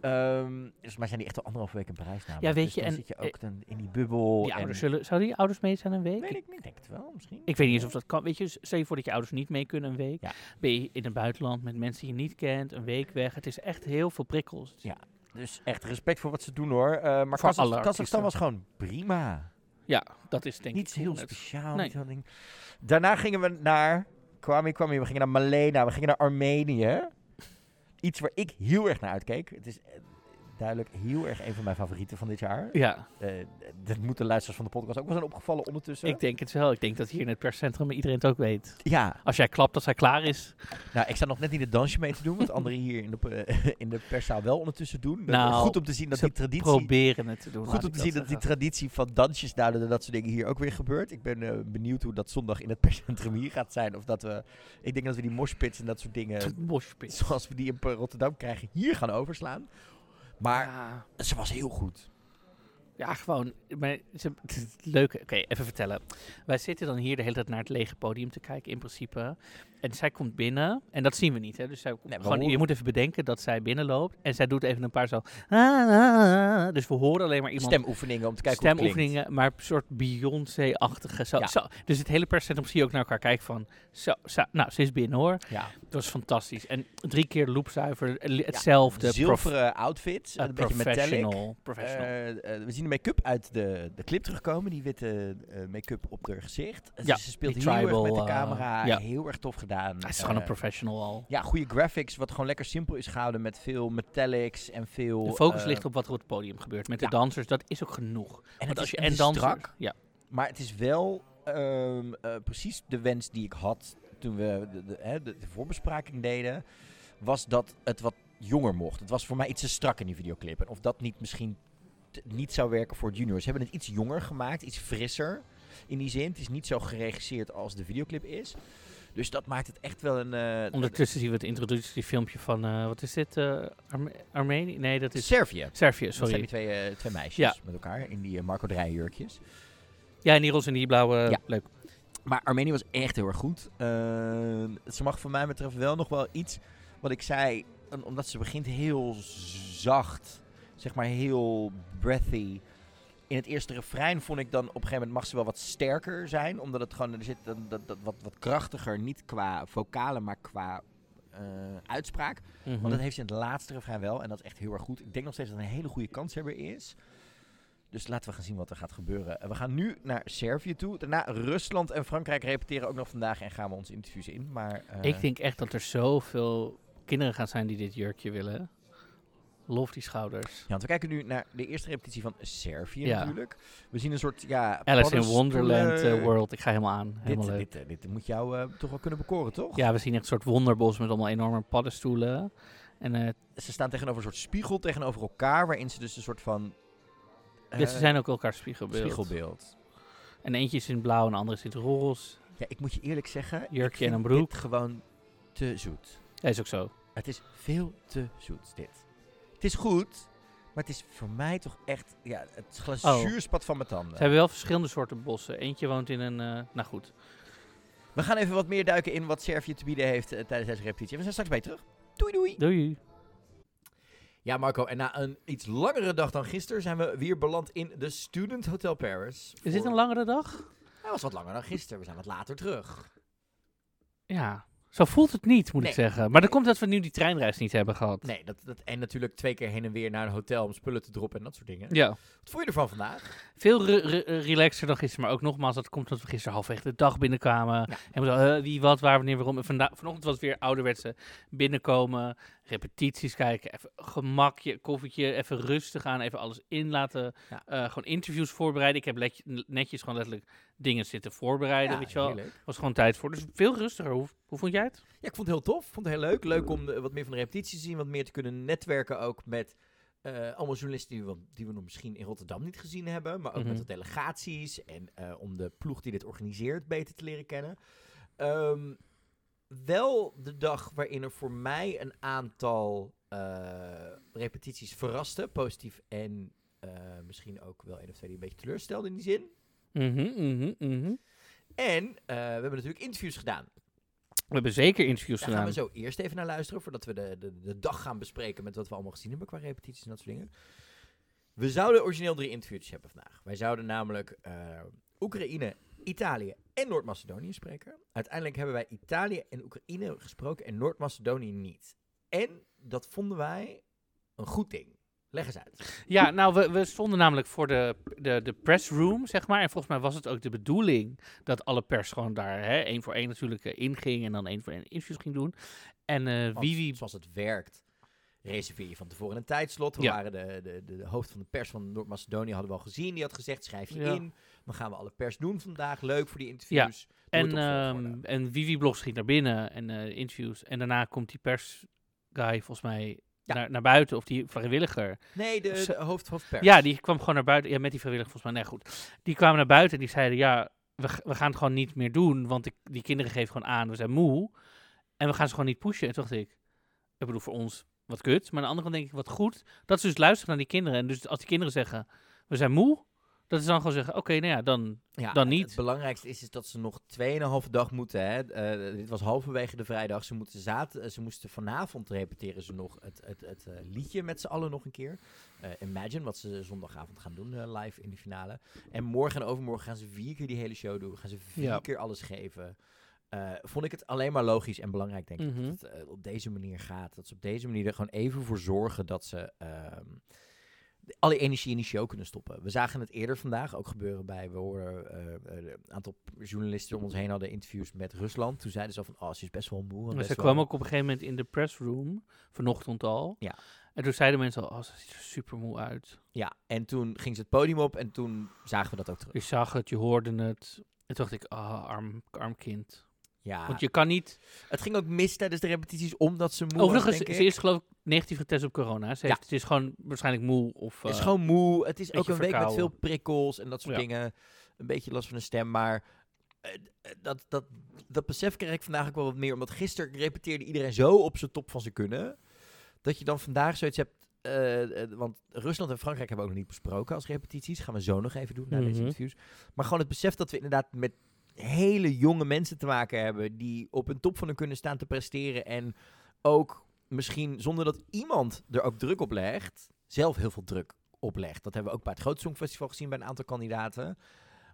Speaker 1: Ehm, dus volgens mij zijn die echt al anderhalf week in Parijs namelijk.
Speaker 2: Ja, weet
Speaker 1: Dus
Speaker 2: je,
Speaker 1: dan
Speaker 2: en-
Speaker 1: zit je ook dan in die bubbel.
Speaker 2: Die
Speaker 1: en-
Speaker 2: ouders zullen, zouden die ouders mee zijn een week?
Speaker 1: Weet
Speaker 2: ik,
Speaker 1: ik niet. Ik denk het wel, misschien.
Speaker 2: ik weet niet eens of dat kan. Weet je, s- stel je voor dat je ouders niet mee kunnen een week.
Speaker 1: Ja.
Speaker 2: Ben je in het buitenland met mensen die je niet kent, een week weg. Het is echt heel veel prikkels.
Speaker 1: Ja. Dus echt respect voor wat ze doen hoor. Eh, maar
Speaker 2: Voor
Speaker 1: Kazach-
Speaker 2: alle
Speaker 1: Kazachstan
Speaker 2: artiesten.
Speaker 1: was gewoon prima.
Speaker 2: Ja, dat is denk
Speaker 1: Niets
Speaker 2: ik
Speaker 1: heel
Speaker 2: het.
Speaker 1: speciaal.
Speaker 2: Nee.
Speaker 1: niet heel ding. Daarna gingen we naar Kwami Kwami. We gingen naar Malena. We gingen naar Armenië. Iets waar ik heel erg naar uitkeek. Het is eh, duidelijk heel erg een van mijn favorieten van dit jaar.
Speaker 2: Ja,
Speaker 1: Eh, dat moeten luisteraars van de podcast ook wel zijn opgevallen ondertussen.
Speaker 2: ik denk het wel. Ik denk dat hier in het perscentrum iedereen het ook weet.
Speaker 1: ja,
Speaker 2: Als jij klapt dat hij klaar is.
Speaker 1: nou, ik sta nog net niet het dansje mee te doen, wat anderen hier in de, eh, in de perszaal wel ondertussen doen. Dat-
Speaker 2: Nou,
Speaker 1: goed om te zien dat
Speaker 2: ze
Speaker 1: die traditie,
Speaker 2: Proberen het te doen. laat
Speaker 1: goed om
Speaker 2: ik
Speaker 1: te zien dat die
Speaker 2: zeggen.
Speaker 1: traditie van dansjes duiden en dat soort dingen hier ook weer gebeurt. Ik ben eh, benieuwd hoe dat zondag in het perscentrum hier gaat zijn. Of dat we, ik denk dat we die moshpits en dat soort dingen,
Speaker 2: Moshpit.
Speaker 1: zoals we die in Rotterdam krijgen, hier gaan overslaan. Maar
Speaker 2: Ja.
Speaker 1: ze was heel goed.
Speaker 2: Ja, gewoon. Maar ze, het is het leuke. Oké, even vertellen. Wij zitten dan hier de hele tijd naar het lege podium te kijken, in principe. En zij komt binnen. En dat zien we niet, hè? Dus zij,
Speaker 1: maar we
Speaker 2: gewoon, je
Speaker 1: horen-
Speaker 2: moet even bedenken dat zij binnenloopt. En zij doet even een paar zo. "Ah, ah, ah." Dus we horen alleen maar iemand.
Speaker 1: Stemoefeningen om te kijken hoe
Speaker 2: stemoefeningen, maar een soort Beyoncé-achtige. Zo,
Speaker 1: Ja.
Speaker 2: zo. Dus het hele perscentrum zie je ook naar elkaar kijken van... Zo, zo, nou, ze is binnen hoor.
Speaker 1: het klinkt.
Speaker 2: Dat was fantastisch. En drie keer loopzuiver, eh, hetzelfde.
Speaker 1: Ja, zilveren outfits,
Speaker 2: prof- eh,
Speaker 1: een beetje metallic.
Speaker 2: professional. professional.
Speaker 1: Eh, eh, we zien de make-up uit de, de clip terugkomen. Die witte eh, make-up op haar gezicht.
Speaker 2: Ja,
Speaker 1: ze speelt heel
Speaker 2: die tribal,
Speaker 1: erg met de
Speaker 2: eh,
Speaker 1: camera.
Speaker 2: ja.
Speaker 1: Heel erg tof gedaan.
Speaker 2: Hij is gewoon een
Speaker 1: Eh,
Speaker 2: professional al.
Speaker 1: Ja, goede graphics. Wat gewoon lekker simpel is gehouden met veel metallics en veel...
Speaker 2: De focus
Speaker 1: eh,
Speaker 2: ligt op wat er op het podium gebeurt. Met
Speaker 1: ja.
Speaker 2: de dansers, dat is ook genoeg.
Speaker 1: En,
Speaker 2: Want
Speaker 1: het
Speaker 2: als
Speaker 1: is,
Speaker 2: je,
Speaker 1: en het
Speaker 2: en
Speaker 1: is
Speaker 2: dansers,
Speaker 1: strak.
Speaker 2: Ja,
Speaker 1: Maar het is wel ehm, eh, precies de wens die ik had toen we de, de, hè, de, de voorbespraking deden. Was dat het wat jonger mocht. Het was voor mij iets te strak in die videoclip. En of dat niet misschien t- niet zou werken voor juniors. Ze hebben het iets jonger gemaakt, iets frisser. In die zin, het is niet zo geregisseerd als de videoclip is. Dus dat maakt het echt wel een... eh,
Speaker 2: ondertussen zien we het introductiefilmpje van, eh, wat is dit? eh, Arme- Armenië? Nee, dat is
Speaker 1: Servië.
Speaker 2: Servië,
Speaker 1: Dat zijn
Speaker 2: sorry.
Speaker 1: die twee, eh, twee meisjes
Speaker 2: Ja.
Speaker 1: met elkaar in die eh, Marco Dreyer jurkjes.
Speaker 2: Ja, en die roze en die blauwe,
Speaker 1: Ja.
Speaker 2: leuk.
Speaker 1: Maar Armenië was echt heel erg goed. Eh, ze mag voor mij betreft wel nog wel iets wat ik zei. en Omdat ze begint heel zacht. Zeg maar heel breathy. In het eerste refrein vond ik dan op een gegeven moment mag ze wel wat sterker zijn. Omdat het gewoon er zit dan dat, dat, wat, wat krachtiger. Niet qua vocalen, maar qua eh, uitspraak. Want
Speaker 2: Mhm.
Speaker 1: dat heeft ze in het laatste refrein wel. En dat is echt heel erg goed. Ik denk nog steeds dat het een hele goede kanshebber is. Dus laten we gaan zien wat er gaat gebeuren. Eh, We gaan nu naar Servië toe. Daarna Rusland en Frankrijk repeteren ook nog vandaag. En gaan we ons interviews in. Maar eh,
Speaker 2: Ik denk echt dat er zoveel kinderen gaan zijn die dit jurkje willen. Lof die schouders.
Speaker 1: Ja, want we kijken nu naar de eerste repetitie van Servië
Speaker 2: Ja.
Speaker 1: natuurlijk. We zien een soort... Ja,
Speaker 2: Alice in
Speaker 1: paddenstoelen-
Speaker 2: Wonderland eh, World, ik ga helemaal aan. Helemaal
Speaker 1: Dit,
Speaker 2: leuk.
Speaker 1: dit, eh, dit moet jou eh, toch wel kunnen bekoren, toch?
Speaker 2: Ja, we zien echt een soort wonderbos met allemaal enorme paddenstoelen. En eh,
Speaker 1: Ze staan tegenover een soort spiegel tegenover elkaar. Waarin ze dus een soort van
Speaker 2: dus ze
Speaker 1: eh,
Speaker 2: zijn ook elkaar spiegelbeeld.
Speaker 1: spiegelbeeld.
Speaker 2: En eentje is in blauw en de andere is in het roze.
Speaker 1: Ja, ik moet je eerlijk zeggen, ik
Speaker 2: Jurkje en
Speaker 1: vind
Speaker 2: een broek.
Speaker 1: dit gewoon te zoet.
Speaker 2: Dat is ook zo.
Speaker 1: Het is veel te zoet, dit. Het is goed, maar het is voor mij toch echt... Ja, het glazuurspad van mijn tanden.
Speaker 2: Oh. Ze hebben wel verschillende soorten bossen. Eentje woont in een... eh, nou goed.
Speaker 1: We gaan even wat meer duiken in wat Servië te bieden heeft eh, tijdens deze repetitie. We zijn straks bij je terug. Doei doei!
Speaker 2: Doei.
Speaker 1: Ja, Marco, en na een iets langere dag dan gisteren zijn we weer beland in de Student Hotel Paris.
Speaker 2: Is dit
Speaker 1: Voor-
Speaker 2: een langere dag?
Speaker 1: Hij was wat langer dan gisteren. We zijn wat later terug.
Speaker 2: Ja. Zo voelt het niet, moet ik
Speaker 1: Nee.
Speaker 2: zeggen. Maar dat komt dat we nu die treinreis niet hebben gehad.
Speaker 1: Nee, dat, dat, en natuurlijk twee keer heen en weer naar een hotel om spullen te droppen en dat soort dingen.
Speaker 2: Ja.
Speaker 1: Wat vond je ervan vandaag?
Speaker 2: Veel re- re- relaxer dan gisteren. Maar ook nogmaals, dat komt omdat we gisteren halfweg de dag binnenkwamen.
Speaker 1: Ja.
Speaker 2: En we dachten, eh, wie, wat, waar, wanneer, waarom. En vanda- vanochtend was het weer ouderwetse binnenkomen. Repetities kijken. Even gemakje, koffietje. Even rustig aan. Even alles in laten.
Speaker 1: Ja.
Speaker 2: eh, gewoon interviews voorbereiden. Ik heb let- netjes gewoon letterlijk dingen zitten voorbereiden. weet je wel.
Speaker 1: heerlijk.
Speaker 2: was gewoon tijd voor. Dus veel rustiger. Hoe, hoe vond jij het?
Speaker 1: Ja, ik vond het heel tof. vond het heel leuk. Leuk om de- wat meer van de repetitie te zien. Wat meer te kunnen netwerken ook met eh, allemaal journalisten die we, die we nog misschien in Rotterdam niet gezien hebben. Maar ook
Speaker 2: Mhm.
Speaker 1: met de delegaties en eh, om de ploeg die dit organiseert beter te leren kennen. Ehm, wel de dag waarin er voor mij een aantal eh, repetities verraste. Positief en eh, misschien ook wel één of twee die een beetje teleurstelden in die zin. En eh, we hebben natuurlijk interviews gedaan.
Speaker 2: We hebben zeker interviews
Speaker 1: Daar gaan we
Speaker 2: gedaan.
Speaker 1: zo eerst even naar luisteren voordat we de, de, de dag gaan bespreken met wat we allemaal gezien hebben qua repetities en dat soort dingen. We zouden origineel drie interviews hebben vandaag. Wij zouden namelijk eh, Oekraïne, Italië en Noord-Macedonië spreken. Uiteindelijk hebben wij Italië en Oekraïne gesproken en Noord-Macedonië niet. En dat vonden wij een goed ding. Leg eens uit.
Speaker 2: Ja, nou, we, we stonden namelijk voor de, de, de pressroom, zeg maar. En volgens mij was het ook de bedoeling dat alle pers gewoon daar hè, één voor één natuurlijk eh, inging. En dan één voor één interviews ging doen. En eh
Speaker 1: Want
Speaker 2: wie wie...
Speaker 1: Zoals het werkt, reserveer je van tevoren een tijdslot. We
Speaker 2: Ja.
Speaker 1: waren de, de, de, de hoofd van de pers van Noord-Macedonië hadden we al gezien. Die had gezegd, schrijf je
Speaker 2: Ja.
Speaker 1: in. Dan gaan we alle pers doen vandaag. Leuk voor die interviews. Doe het
Speaker 2: En,
Speaker 1: op volgorde.
Speaker 2: ehm en Vivi Blogs ging naar binnen en eh, interviews. En daarna komt die persguy volgens mij
Speaker 1: Ja.
Speaker 2: naar, naar buiten. Of die vrijwilliger.
Speaker 1: nee, de,
Speaker 2: ze-
Speaker 1: de hoofd, hoofdpers.
Speaker 2: Ja, die kwam gewoon naar buiten. Ja, met die vrijwilliger volgens mij. Nee, goed. Die kwamen naar buiten en die zeiden, ja, we, g- we gaan het gewoon niet meer doen. Want ik, die kinderen geven gewoon aan, we zijn moe. En we gaan ze gewoon niet pushen. En toen dacht ik, ik bedoel, voor ons wat kut. Maar aan de andere kant denk ik, wat goed. Dat ze dus luisteren naar die kinderen. En dus als die kinderen zeggen, we zijn moe. Dat ze dan gewoon zeggen, oké, nou ja, dan...
Speaker 1: Ja,
Speaker 2: dan
Speaker 1: het-
Speaker 2: niet.
Speaker 1: Het belangrijkste is, is dat ze nog 2,5 dag moeten. Hè. Eh, dit was halverwege de vrijdag. Ze, moeten zaad, eh, ze moesten vanavond repeteren ze nog het, het, het eh, liedje met z'n allen nog een keer. Eh, Imagine, wat ze zondagavond gaan doen eh, live in de finale. En morgen en overmorgen gaan ze vier keer die hele show doen. Gaan ze vier
Speaker 2: Ja.
Speaker 1: keer alles geven. Eh, vond ik het alleen maar logisch en belangrijk, denk ik,
Speaker 2: Mhm.
Speaker 1: dat het eh, op deze manier gaat. Dat ze op deze manier er gewoon even voor zorgen dat ze ehm, de- alle energie in die show kunnen stoppen. We zagen het eerder vandaag ook gebeuren bij, we horen eh, eh, een aantal journalisten om ons heen hadden interviews met Rusland. Toen zeiden ze al van, oh, ze is best wel moe. en
Speaker 2: Maar ze
Speaker 1: best wel-
Speaker 2: kwam ook op een gegeven moment in de pressroom, vanochtend al.
Speaker 1: Ja.
Speaker 2: En toen zeiden mensen al, oh, ze ziet er super moe uit.
Speaker 1: Ja, en toen ging ze het podium op en toen zagen we dat ook terug.
Speaker 2: Je zag het, je hoorde het. En toen dacht ik, ah, arm, arm kind.
Speaker 1: Ja,
Speaker 2: Want je kan niet...
Speaker 1: het ging ook mis tijdens de repetities omdat ze moe was,
Speaker 2: Overigens,
Speaker 1: denk
Speaker 2: ze
Speaker 1: ik.
Speaker 2: is geloof ik negatief getest op corona. Ze,
Speaker 1: Ja.
Speaker 2: heeft, ze is gewoon waarschijnlijk moe of...
Speaker 1: Het is
Speaker 2: eh,
Speaker 1: gewoon moe. Het is ook
Speaker 2: beetje
Speaker 1: een week met veel
Speaker 2: verkouden.
Speaker 1: prikkels en dat soort
Speaker 2: Ja.
Speaker 1: dingen. Een beetje last van de stem, maar eh, eh, dat, dat, dat besef kreeg ik vandaag ook wel wat meer. Omdat gisteren repeteerde iedereen zo op zijn top van zijn kunnen. Dat je dan vandaag zoiets hebt. eh, eh, want Rusland en Frankrijk hebben we ook nog niet besproken als repetities. Gaan we zo nog even doen na deze
Speaker 2: Mhm.
Speaker 1: interviews. Maar gewoon het besef dat we inderdaad met hele jonge mensen te maken hebben. Die op hun top van hun kunnen staan te presteren. En ook misschien zonder dat iemand er ook druk op legt. Zelf heel veel druk oplegt. Dat hebben we ook bij het Groot Songfestival gezien bij een aantal kandidaten.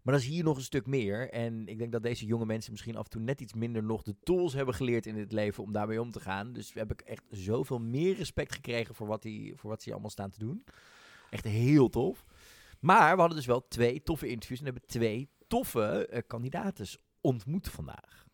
Speaker 1: Maar dat is hier nog een stuk meer. En ik denk dat deze jonge mensen misschien af en toe net iets minder nog de tools hebben geleerd in dit leven om daarmee om te gaan. Dus heb ik echt zoveel meer respect gekregen voor wat, die, voor wat ze hier allemaal staan te doen. Echt heel tof. Maar we hadden dus wel twee toffe interviews en hebben twee toffe eh, kandidaten ontmoet vandaag.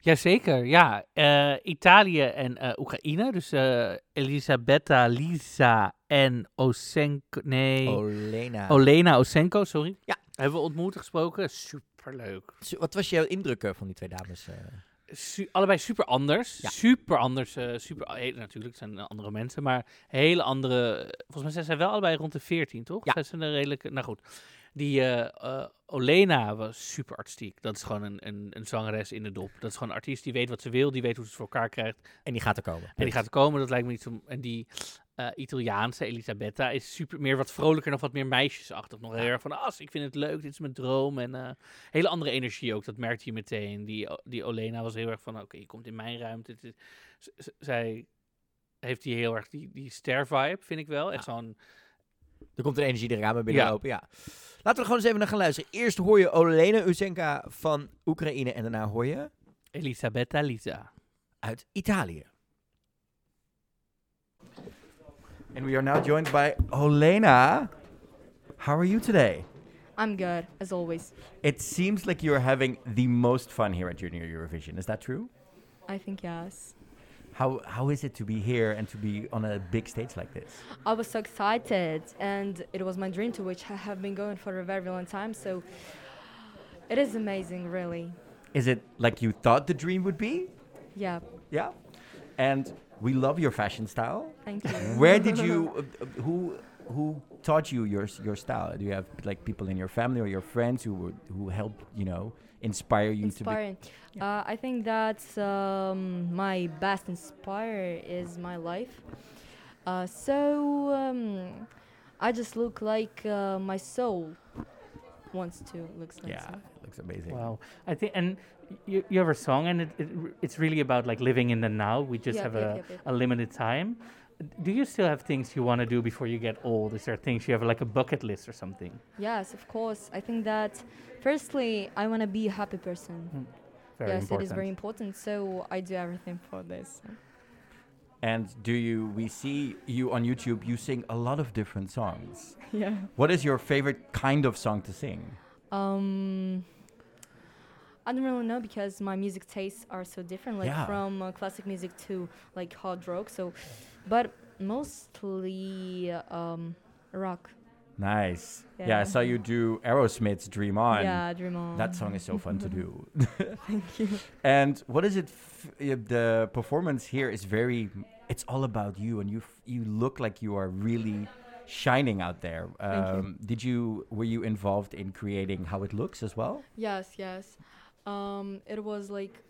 Speaker 2: Jazeker, ja. Eh, Italië en eh, Oekraïne. Dus eh Elisabetta, Lisa en Osenko... Nee,
Speaker 1: Olena.
Speaker 2: Olena Osenko, sorry.
Speaker 1: Ja.
Speaker 2: Hebben we ontmoet en gesproken. Superleuk.
Speaker 1: Zo, wat was jouw indruk eh, van die twee dames? eh?
Speaker 4: su- allebei super anders.
Speaker 2: Ja.
Speaker 4: Super anders. eh, super, eh, natuurlijk, het zijn eh, andere mensen, maar hele andere. eh, Volgens mij zijn zij wel allebei rond de 14, toch?
Speaker 2: Ja.
Speaker 4: Zij zijn er redelijk. Nou goed. Die eh, eh, Olena was super artistiek. Dat is gewoon een, een, een zangeres in de dop. Dat is gewoon een artiest die weet wat ze wil, die weet hoe ze het voor elkaar krijgt.
Speaker 1: En die gaat er komen.
Speaker 4: En die gaat komen, dat lijkt me niet zo... En die eh, Italiaanse Elisabetta is super meer wat vrolijker, nog wat meer meisjesachtig. Nog heel erg van, as, ik vind het leuk, dit is mijn droom. En eh, hele andere energie ook, dat merkte je meteen. Die, die Olena was heel erg van, oké, je komt in mijn ruimte. Het is- z- z- zij heeft die heel erg, die, die ster-vibe, vind ik wel. Echt zo'n...
Speaker 1: Er komt een energie de ramen binnenlopen, ja. Laten we er gewoon eens even naar gaan luisteren. Eerst hoor je Olena Uzenka van Oekraïne en daarna hoor je
Speaker 4: Elisabetta Lisa.
Speaker 1: uit Italië. And we are now joined by Olena. How are you today?
Speaker 5: I'm good, as always.
Speaker 1: It seems like you're having the most fun here at Junior Eurovision. Is that true?
Speaker 5: I think yes.
Speaker 1: How how is it to be here and to be on a big stage like this?
Speaker 5: I was so excited, and it was my dream to which I have been going for a very long time. So it is amazing, really.
Speaker 1: Is it like you thought the dream would be?
Speaker 5: Yeah,
Speaker 1: Yeah. And we love your fashion style.
Speaker 5: thank you.
Speaker 1: Where did you uh, uh, who who taught you your s- your style? Do you have like people in your family or your friends who were, who helped, you know, inspire you to
Speaker 5: Inspiring. Uh, I think that um, my best inspire is my life. Uh, so um, I just look like uh, my soul wants to looks
Speaker 1: be
Speaker 5: like.
Speaker 1: Yeah,
Speaker 5: so.
Speaker 1: it looks amazing.
Speaker 2: Wow. I think, and you, you have a song, and it, it, it's really about like living in the now. We just
Speaker 5: Yep,
Speaker 2: have
Speaker 5: yep,
Speaker 2: a,
Speaker 5: yep, yep.
Speaker 2: a limited time. Do you still have things you want to do before you get old? Is there things you have like a bucket list or something?
Speaker 5: Yes, of course. I think that firstly, I want to be a happy person.
Speaker 2: Very
Speaker 5: yes,
Speaker 2: important.
Speaker 5: it is very important. So I do everything for this.
Speaker 1: And do you we see you on YouTube you sing a lot of different songs.
Speaker 5: Yeah.
Speaker 1: What is your favorite kind of song to sing?
Speaker 5: Um, I don't really know because my music tastes are so different, like
Speaker 1: Yeah.
Speaker 5: from uh, classic music to like hard rock. So, but mostly um, rock.
Speaker 1: Nice. Yeah. I
Speaker 5: Yeah.
Speaker 1: saw you do Aerosmith's Dream On.
Speaker 5: yeah, Dream On.
Speaker 1: That song is so fun to do. Thank you. And what is it? F- uh, the performance here is very. It's all about you, and you f- you look like you are really shining out there.
Speaker 5: Thank you.
Speaker 1: Um, Did you were you involved in creating how it looks as well?
Speaker 5: Yes, yes. Um, it was like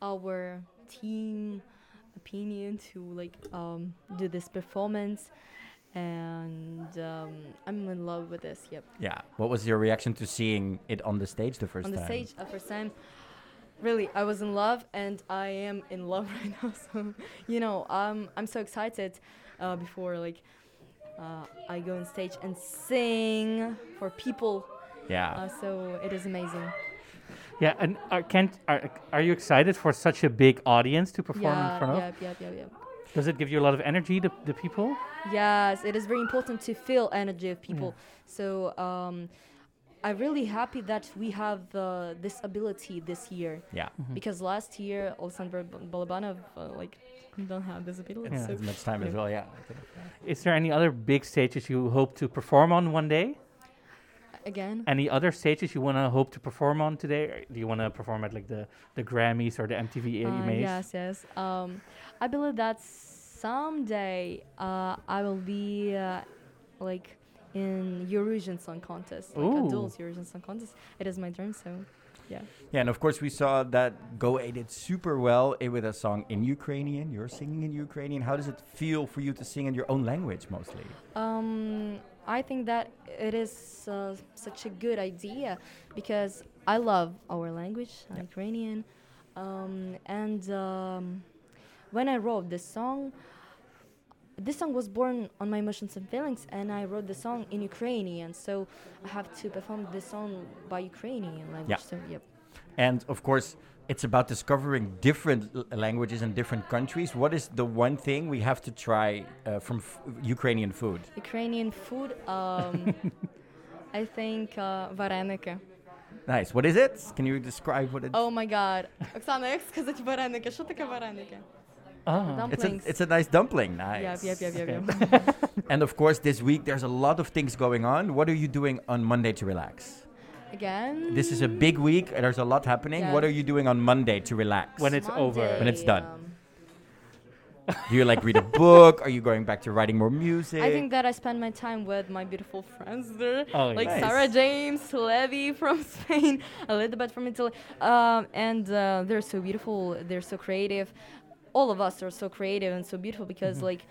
Speaker 5: our team opinion to like um, do this performance, and um, I'm in love with this. Yep.
Speaker 1: Yeah. What was your reaction to seeing it on the stage the first
Speaker 5: on
Speaker 1: time?
Speaker 5: the stage uh, first time. Really, I was in love, and I am in love right now. So, you know, um, I'm so excited uh, before like uh, I go on stage and sing for people.
Speaker 1: Yeah.
Speaker 5: Uh, so it is amazing.
Speaker 2: Yeah, and are, can't, are, are you excited for such a big audience to perform in front
Speaker 5: Yeah,
Speaker 2: of?
Speaker 5: yep, yep, yep, yep.
Speaker 2: Does it give you a lot of energy, the, the people?
Speaker 5: Yes, it is very important to feel energy of people. So um, I'm really happy that we have uh, this ability this year
Speaker 1: yeah.
Speaker 2: Mm-hmm.
Speaker 5: because last year Alexander Balabanov uh, like don't have this ability.
Speaker 2: Yeah.
Speaker 5: So
Speaker 1: As much time as well. Yeah. I think.
Speaker 2: Is there any other big stages you hope to perform on one day?
Speaker 5: again,
Speaker 2: Any other stages you want to hope to perform on today? Or do you want to perform at like the, the Grammys or the MTV
Speaker 5: Uh,
Speaker 2: EMAs?
Speaker 5: yes, yes. Um, I believe that someday uh, I will be uh, like in Eurovision Song Contest, like
Speaker 2: Ooh.
Speaker 5: adult Eurovision Song Contest. It is my dream, so yeah.
Speaker 1: Yeah, and of course we saw that Goa did super well i- with a song in Ukrainian. You're singing in Ukrainian. How does it feel for you to sing in your own language mostly?
Speaker 5: Um, I think that it is uh, such a good idea because I love our language, uh, Ukrainian. Um, and um, when I wrote this song, this song was born on my emotions and feelings, and I wrote the song in Ukrainian. So I have to perform this song by Ukrainian language. So, yep.
Speaker 1: And of course, it's about discovering different l- languages and different countries. What is the one thing we have to try uh, from f- Ukrainian food?
Speaker 5: Ukrainian food, um, I think uh, вареники.
Speaker 1: Nice. What is it? Can you describe what it?
Speaker 5: Oh my god. Оксана, як сказати вареники? Що таке вареники?
Speaker 2: Ah.
Speaker 1: It's a,
Speaker 5: Dumplings.
Speaker 1: it's a nice dumpling. Nice.
Speaker 5: Yep, yep, yep, yep, yep.
Speaker 1: And of course, this week there's a lot of things going on. What are you doing on Monday to relax?
Speaker 5: again.
Speaker 1: This is a big week. and There's a lot happening.
Speaker 5: Yeah.
Speaker 1: What are you doing on Monday to relax?
Speaker 6: When it's over.
Speaker 5: Monday,
Speaker 1: When it's done.
Speaker 5: um,
Speaker 1: Do you like read a book? Are you going back to writing more music?
Speaker 5: I think that I spend my time with my beautiful friends there,
Speaker 6: Oh,
Speaker 5: like
Speaker 1: Nice.
Speaker 5: Sarah James, Levy from Spain, Elizabeth from Italy, um, and uh, they're so beautiful. They're so creative. All of us are so creative and so beautiful because
Speaker 1: Mm-hmm.
Speaker 5: like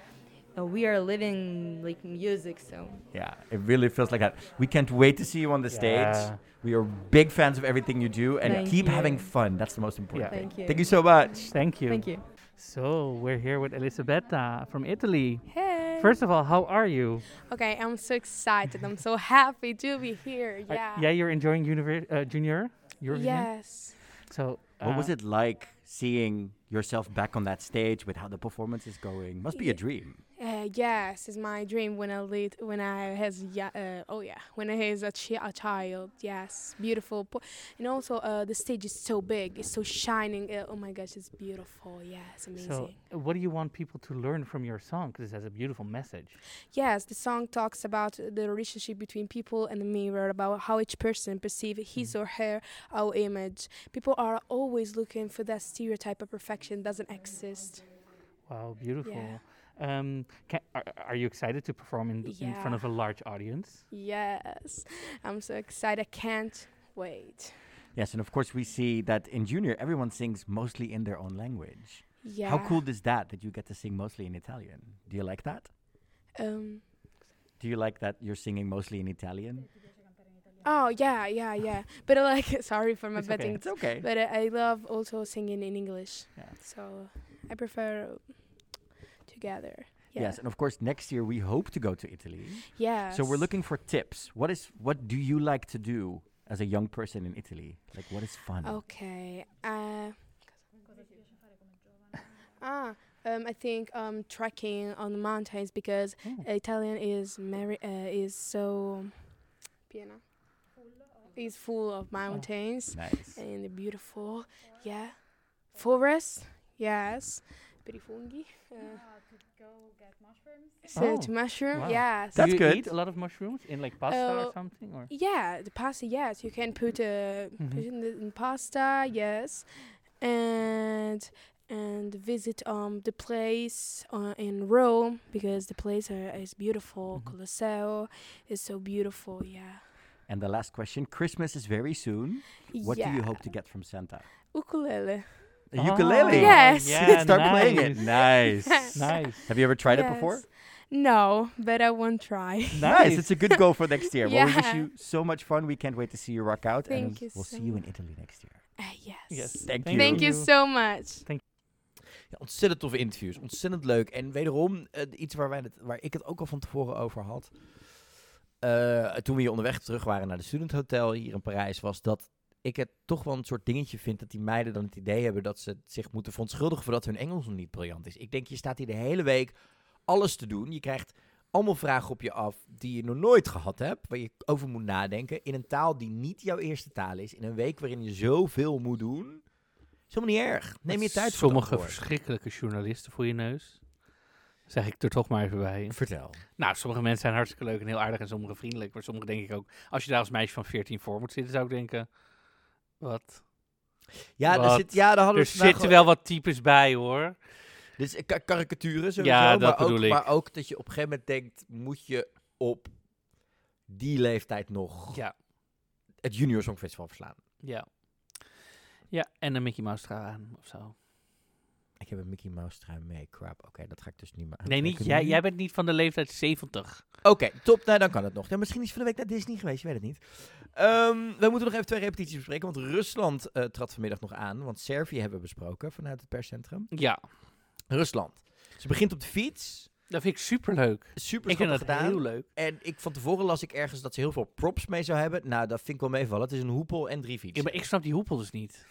Speaker 5: uh, we are living like music. So
Speaker 1: yeah, it really feels like that. We can't wait to see you on the
Speaker 6: Yeah.
Speaker 1: stage. We are big fans of everything you do and
Speaker 5: Thank
Speaker 1: keep
Speaker 5: you.
Speaker 1: having fun. That's the most important
Speaker 6: Yeah.
Speaker 1: thing.
Speaker 5: Thank you.
Speaker 1: Thank you so much.
Speaker 6: Thank you.
Speaker 5: thank you.
Speaker 6: So we're here with Elisabetta from Italy.
Speaker 7: Hey.
Speaker 6: First of all, how are you?
Speaker 7: okay, I'm so excited. I'm so happy to be here.
Speaker 6: Are-
Speaker 7: Yeah.
Speaker 6: yeah, you're enjoying univer- uh, junior. Eurovision?
Speaker 7: Yes.
Speaker 6: So
Speaker 1: What was
Speaker 6: uh,
Speaker 1: it like seeing yourself back on that stage with how the performance is going? Must be a dream.
Speaker 7: Uh, yes, it's my dream when I lead, when I has yeah, uh, oh yeah, when I has a, chi- a child. Yes, beautiful. Po- and also, uh, the stage is so big. It's so shining. Uh, oh my gosh, it's beautiful. Yes, amazing.
Speaker 6: So, uh, what do you want people to learn from your song? Because it has a beautiful message.
Speaker 7: Yes, the song talks about the relationship between people and the mirror, about how each person perceives his
Speaker 6: Mm.
Speaker 7: or her own image. People are always looking for that stereotype of perfection doesn't exist.
Speaker 6: Wow, beautiful. Um, ca are, are you excited to perform in, in front
Speaker 7: Yeah.
Speaker 6: of a large audience?
Speaker 7: Yes, I'm so excited. I can't wait.
Speaker 1: Yes, and of course we see that in junior everyone sings mostly in their own language.
Speaker 7: Yeah.
Speaker 1: How cool is that that you get to sing mostly in Italian? Do you like that?
Speaker 7: Um,
Speaker 1: Do you like that you're singing mostly in Italian?
Speaker 7: oh yeah, yeah, yeah. But I like, sorry for my
Speaker 6: It's okay.
Speaker 7: betting.
Speaker 1: It's okay.
Speaker 7: But I I love also singing in English.
Speaker 1: Yeah.
Speaker 7: So I prefer together. Yeah.
Speaker 1: Yes, and of course next year we hope to go to Italy.
Speaker 7: Yes.
Speaker 1: So we're looking for tips. What is what do you like to do as a young person in Italy? Like what is fun?
Speaker 7: Oh, Okay. Uh, ah, um, I think um, trekking on the mountains because
Speaker 6: Hmm.
Speaker 7: Italian is mari- uh, is so piena is full
Speaker 6: Ah.
Speaker 7: of mountains
Speaker 1: Nice.
Speaker 7: and the beautiful, yeah, forest. Yes, per i funghi. Uh, so
Speaker 6: Oh,
Speaker 7: to mushroom.
Speaker 6: wow.
Speaker 7: Yes.
Speaker 1: That's
Speaker 6: do you
Speaker 1: good.
Speaker 6: eat a lot of mushrooms in like pasta or
Speaker 7: Uh,
Speaker 6: something? Or
Speaker 7: Yeah, the pasta. Yes, you can put, uh,
Speaker 1: Mm-hmm.
Speaker 7: put in the in pasta. Yes, and and visit um the place uh, in Rome because the place uh, is beautiful.
Speaker 1: Mm-hmm.
Speaker 7: Colosseo is so beautiful. Yeah.
Speaker 1: And the last question, Christmas is very soon. What
Speaker 7: yeah.
Speaker 1: do you hope to get from Santa?
Speaker 7: Ukulele.
Speaker 1: A
Speaker 6: Ah,
Speaker 1: ukulele.
Speaker 7: Oh, Yes.
Speaker 6: yeah,
Speaker 1: Start playing it.
Speaker 6: nice,
Speaker 1: Nice.
Speaker 6: Nice.
Speaker 1: Have you ever tried it
Speaker 7: Yes.
Speaker 1: before?
Speaker 7: No, but I won't try.
Speaker 1: Nice. It's a good goal for next year. Well, we wish
Speaker 7: Yeah.
Speaker 1: you so much fun. We can't wait to see you rock out. and
Speaker 7: Thank you
Speaker 1: we'll
Speaker 7: so
Speaker 1: see you in
Speaker 7: much.
Speaker 1: Italy next year.
Speaker 7: Uh, yes.
Speaker 6: Yes.
Speaker 1: Thank you.
Speaker 7: Thank you so much.
Speaker 8: Ja, ontzettend toffe interviews. Ontzettend leuk. En wederom eh, iets waar, wij het, waar ik het ook al van tevoren over had. Eh, toen we hier onderweg terug waren naar de Student Hotel hier in Parijs, was dat ik het toch wel een soort dingetje vind dat die meiden dan het idee hebben dat ze zich moeten verontschuldigen voordat hun Engels nog niet briljant is. Ik denk, je staat hier de hele week alles te doen. Je krijgt allemaal vragen op je af die je nog nooit gehad hebt, waar je over moet nadenken, in een taal die niet jouw eerste taal is, in een week waarin je zoveel moet doen. Is helemaal niet erg. Neem je tijd voor het
Speaker 2: Sommige
Speaker 8: antwoord.
Speaker 2: verschrikkelijke journalisten voor je neus. Zeg ik er toch maar even bij.
Speaker 8: Vertel.
Speaker 2: Nou, sommige mensen zijn hartstikke leuk en heel aardig en sommige vriendelijk. Maar sommige denk ik ook, als je daar als meisje van 14 voor moet zitten, zou ik denken... Wat?
Speaker 8: Ja, er
Speaker 2: Wat?
Speaker 8: zit, ja daar hadden
Speaker 2: Er
Speaker 8: we vandaag
Speaker 2: zitten wel wat types bij hoor.
Speaker 8: Dus eh, ka- karikaturen sowieso.
Speaker 2: Ja, dat
Speaker 8: maar ook,
Speaker 2: bedoel ik.
Speaker 8: Maar ook dat je op een gegeven moment denkt, moet je op die leeftijd nog
Speaker 2: Ja.
Speaker 8: het Junior Songfestival verslaan?
Speaker 2: Ja. Ja, en een Mickey Mouse trui aan of zo.
Speaker 8: Ik heb een Mickey Mouse trui mee, crap. Oké, dat ga ik dus niet meer
Speaker 2: Nee, niet,
Speaker 8: aantrekken
Speaker 2: jij,
Speaker 8: nu.
Speaker 2: jij bent niet van de leeftijd 70.
Speaker 8: Oké, top. Nou, dan kan het nog. Ja, misschien is van de week naar Disney geweest, je weet het niet. Ehm, we moeten nog even twee repetities bespreken, want Rusland eh, trad vanmiddag nog aan. Want Servië hebben we besproken vanuit het perscentrum.
Speaker 2: Ja,
Speaker 8: Rusland. Ze begint op de fiets.
Speaker 2: dat vind ik superleuk.
Speaker 8: Super
Speaker 2: Ik vind dat
Speaker 8: gedaan.
Speaker 2: heel leuk.
Speaker 8: En ik, van tevoren las ik ergens dat ze heel veel props mee zou hebben. Nou, dat vind ik wel meevallen. Het is een hoepel en drie
Speaker 2: Ja,
Speaker 8: fietsen.
Speaker 2: maar ik snap die hoepel dus niet.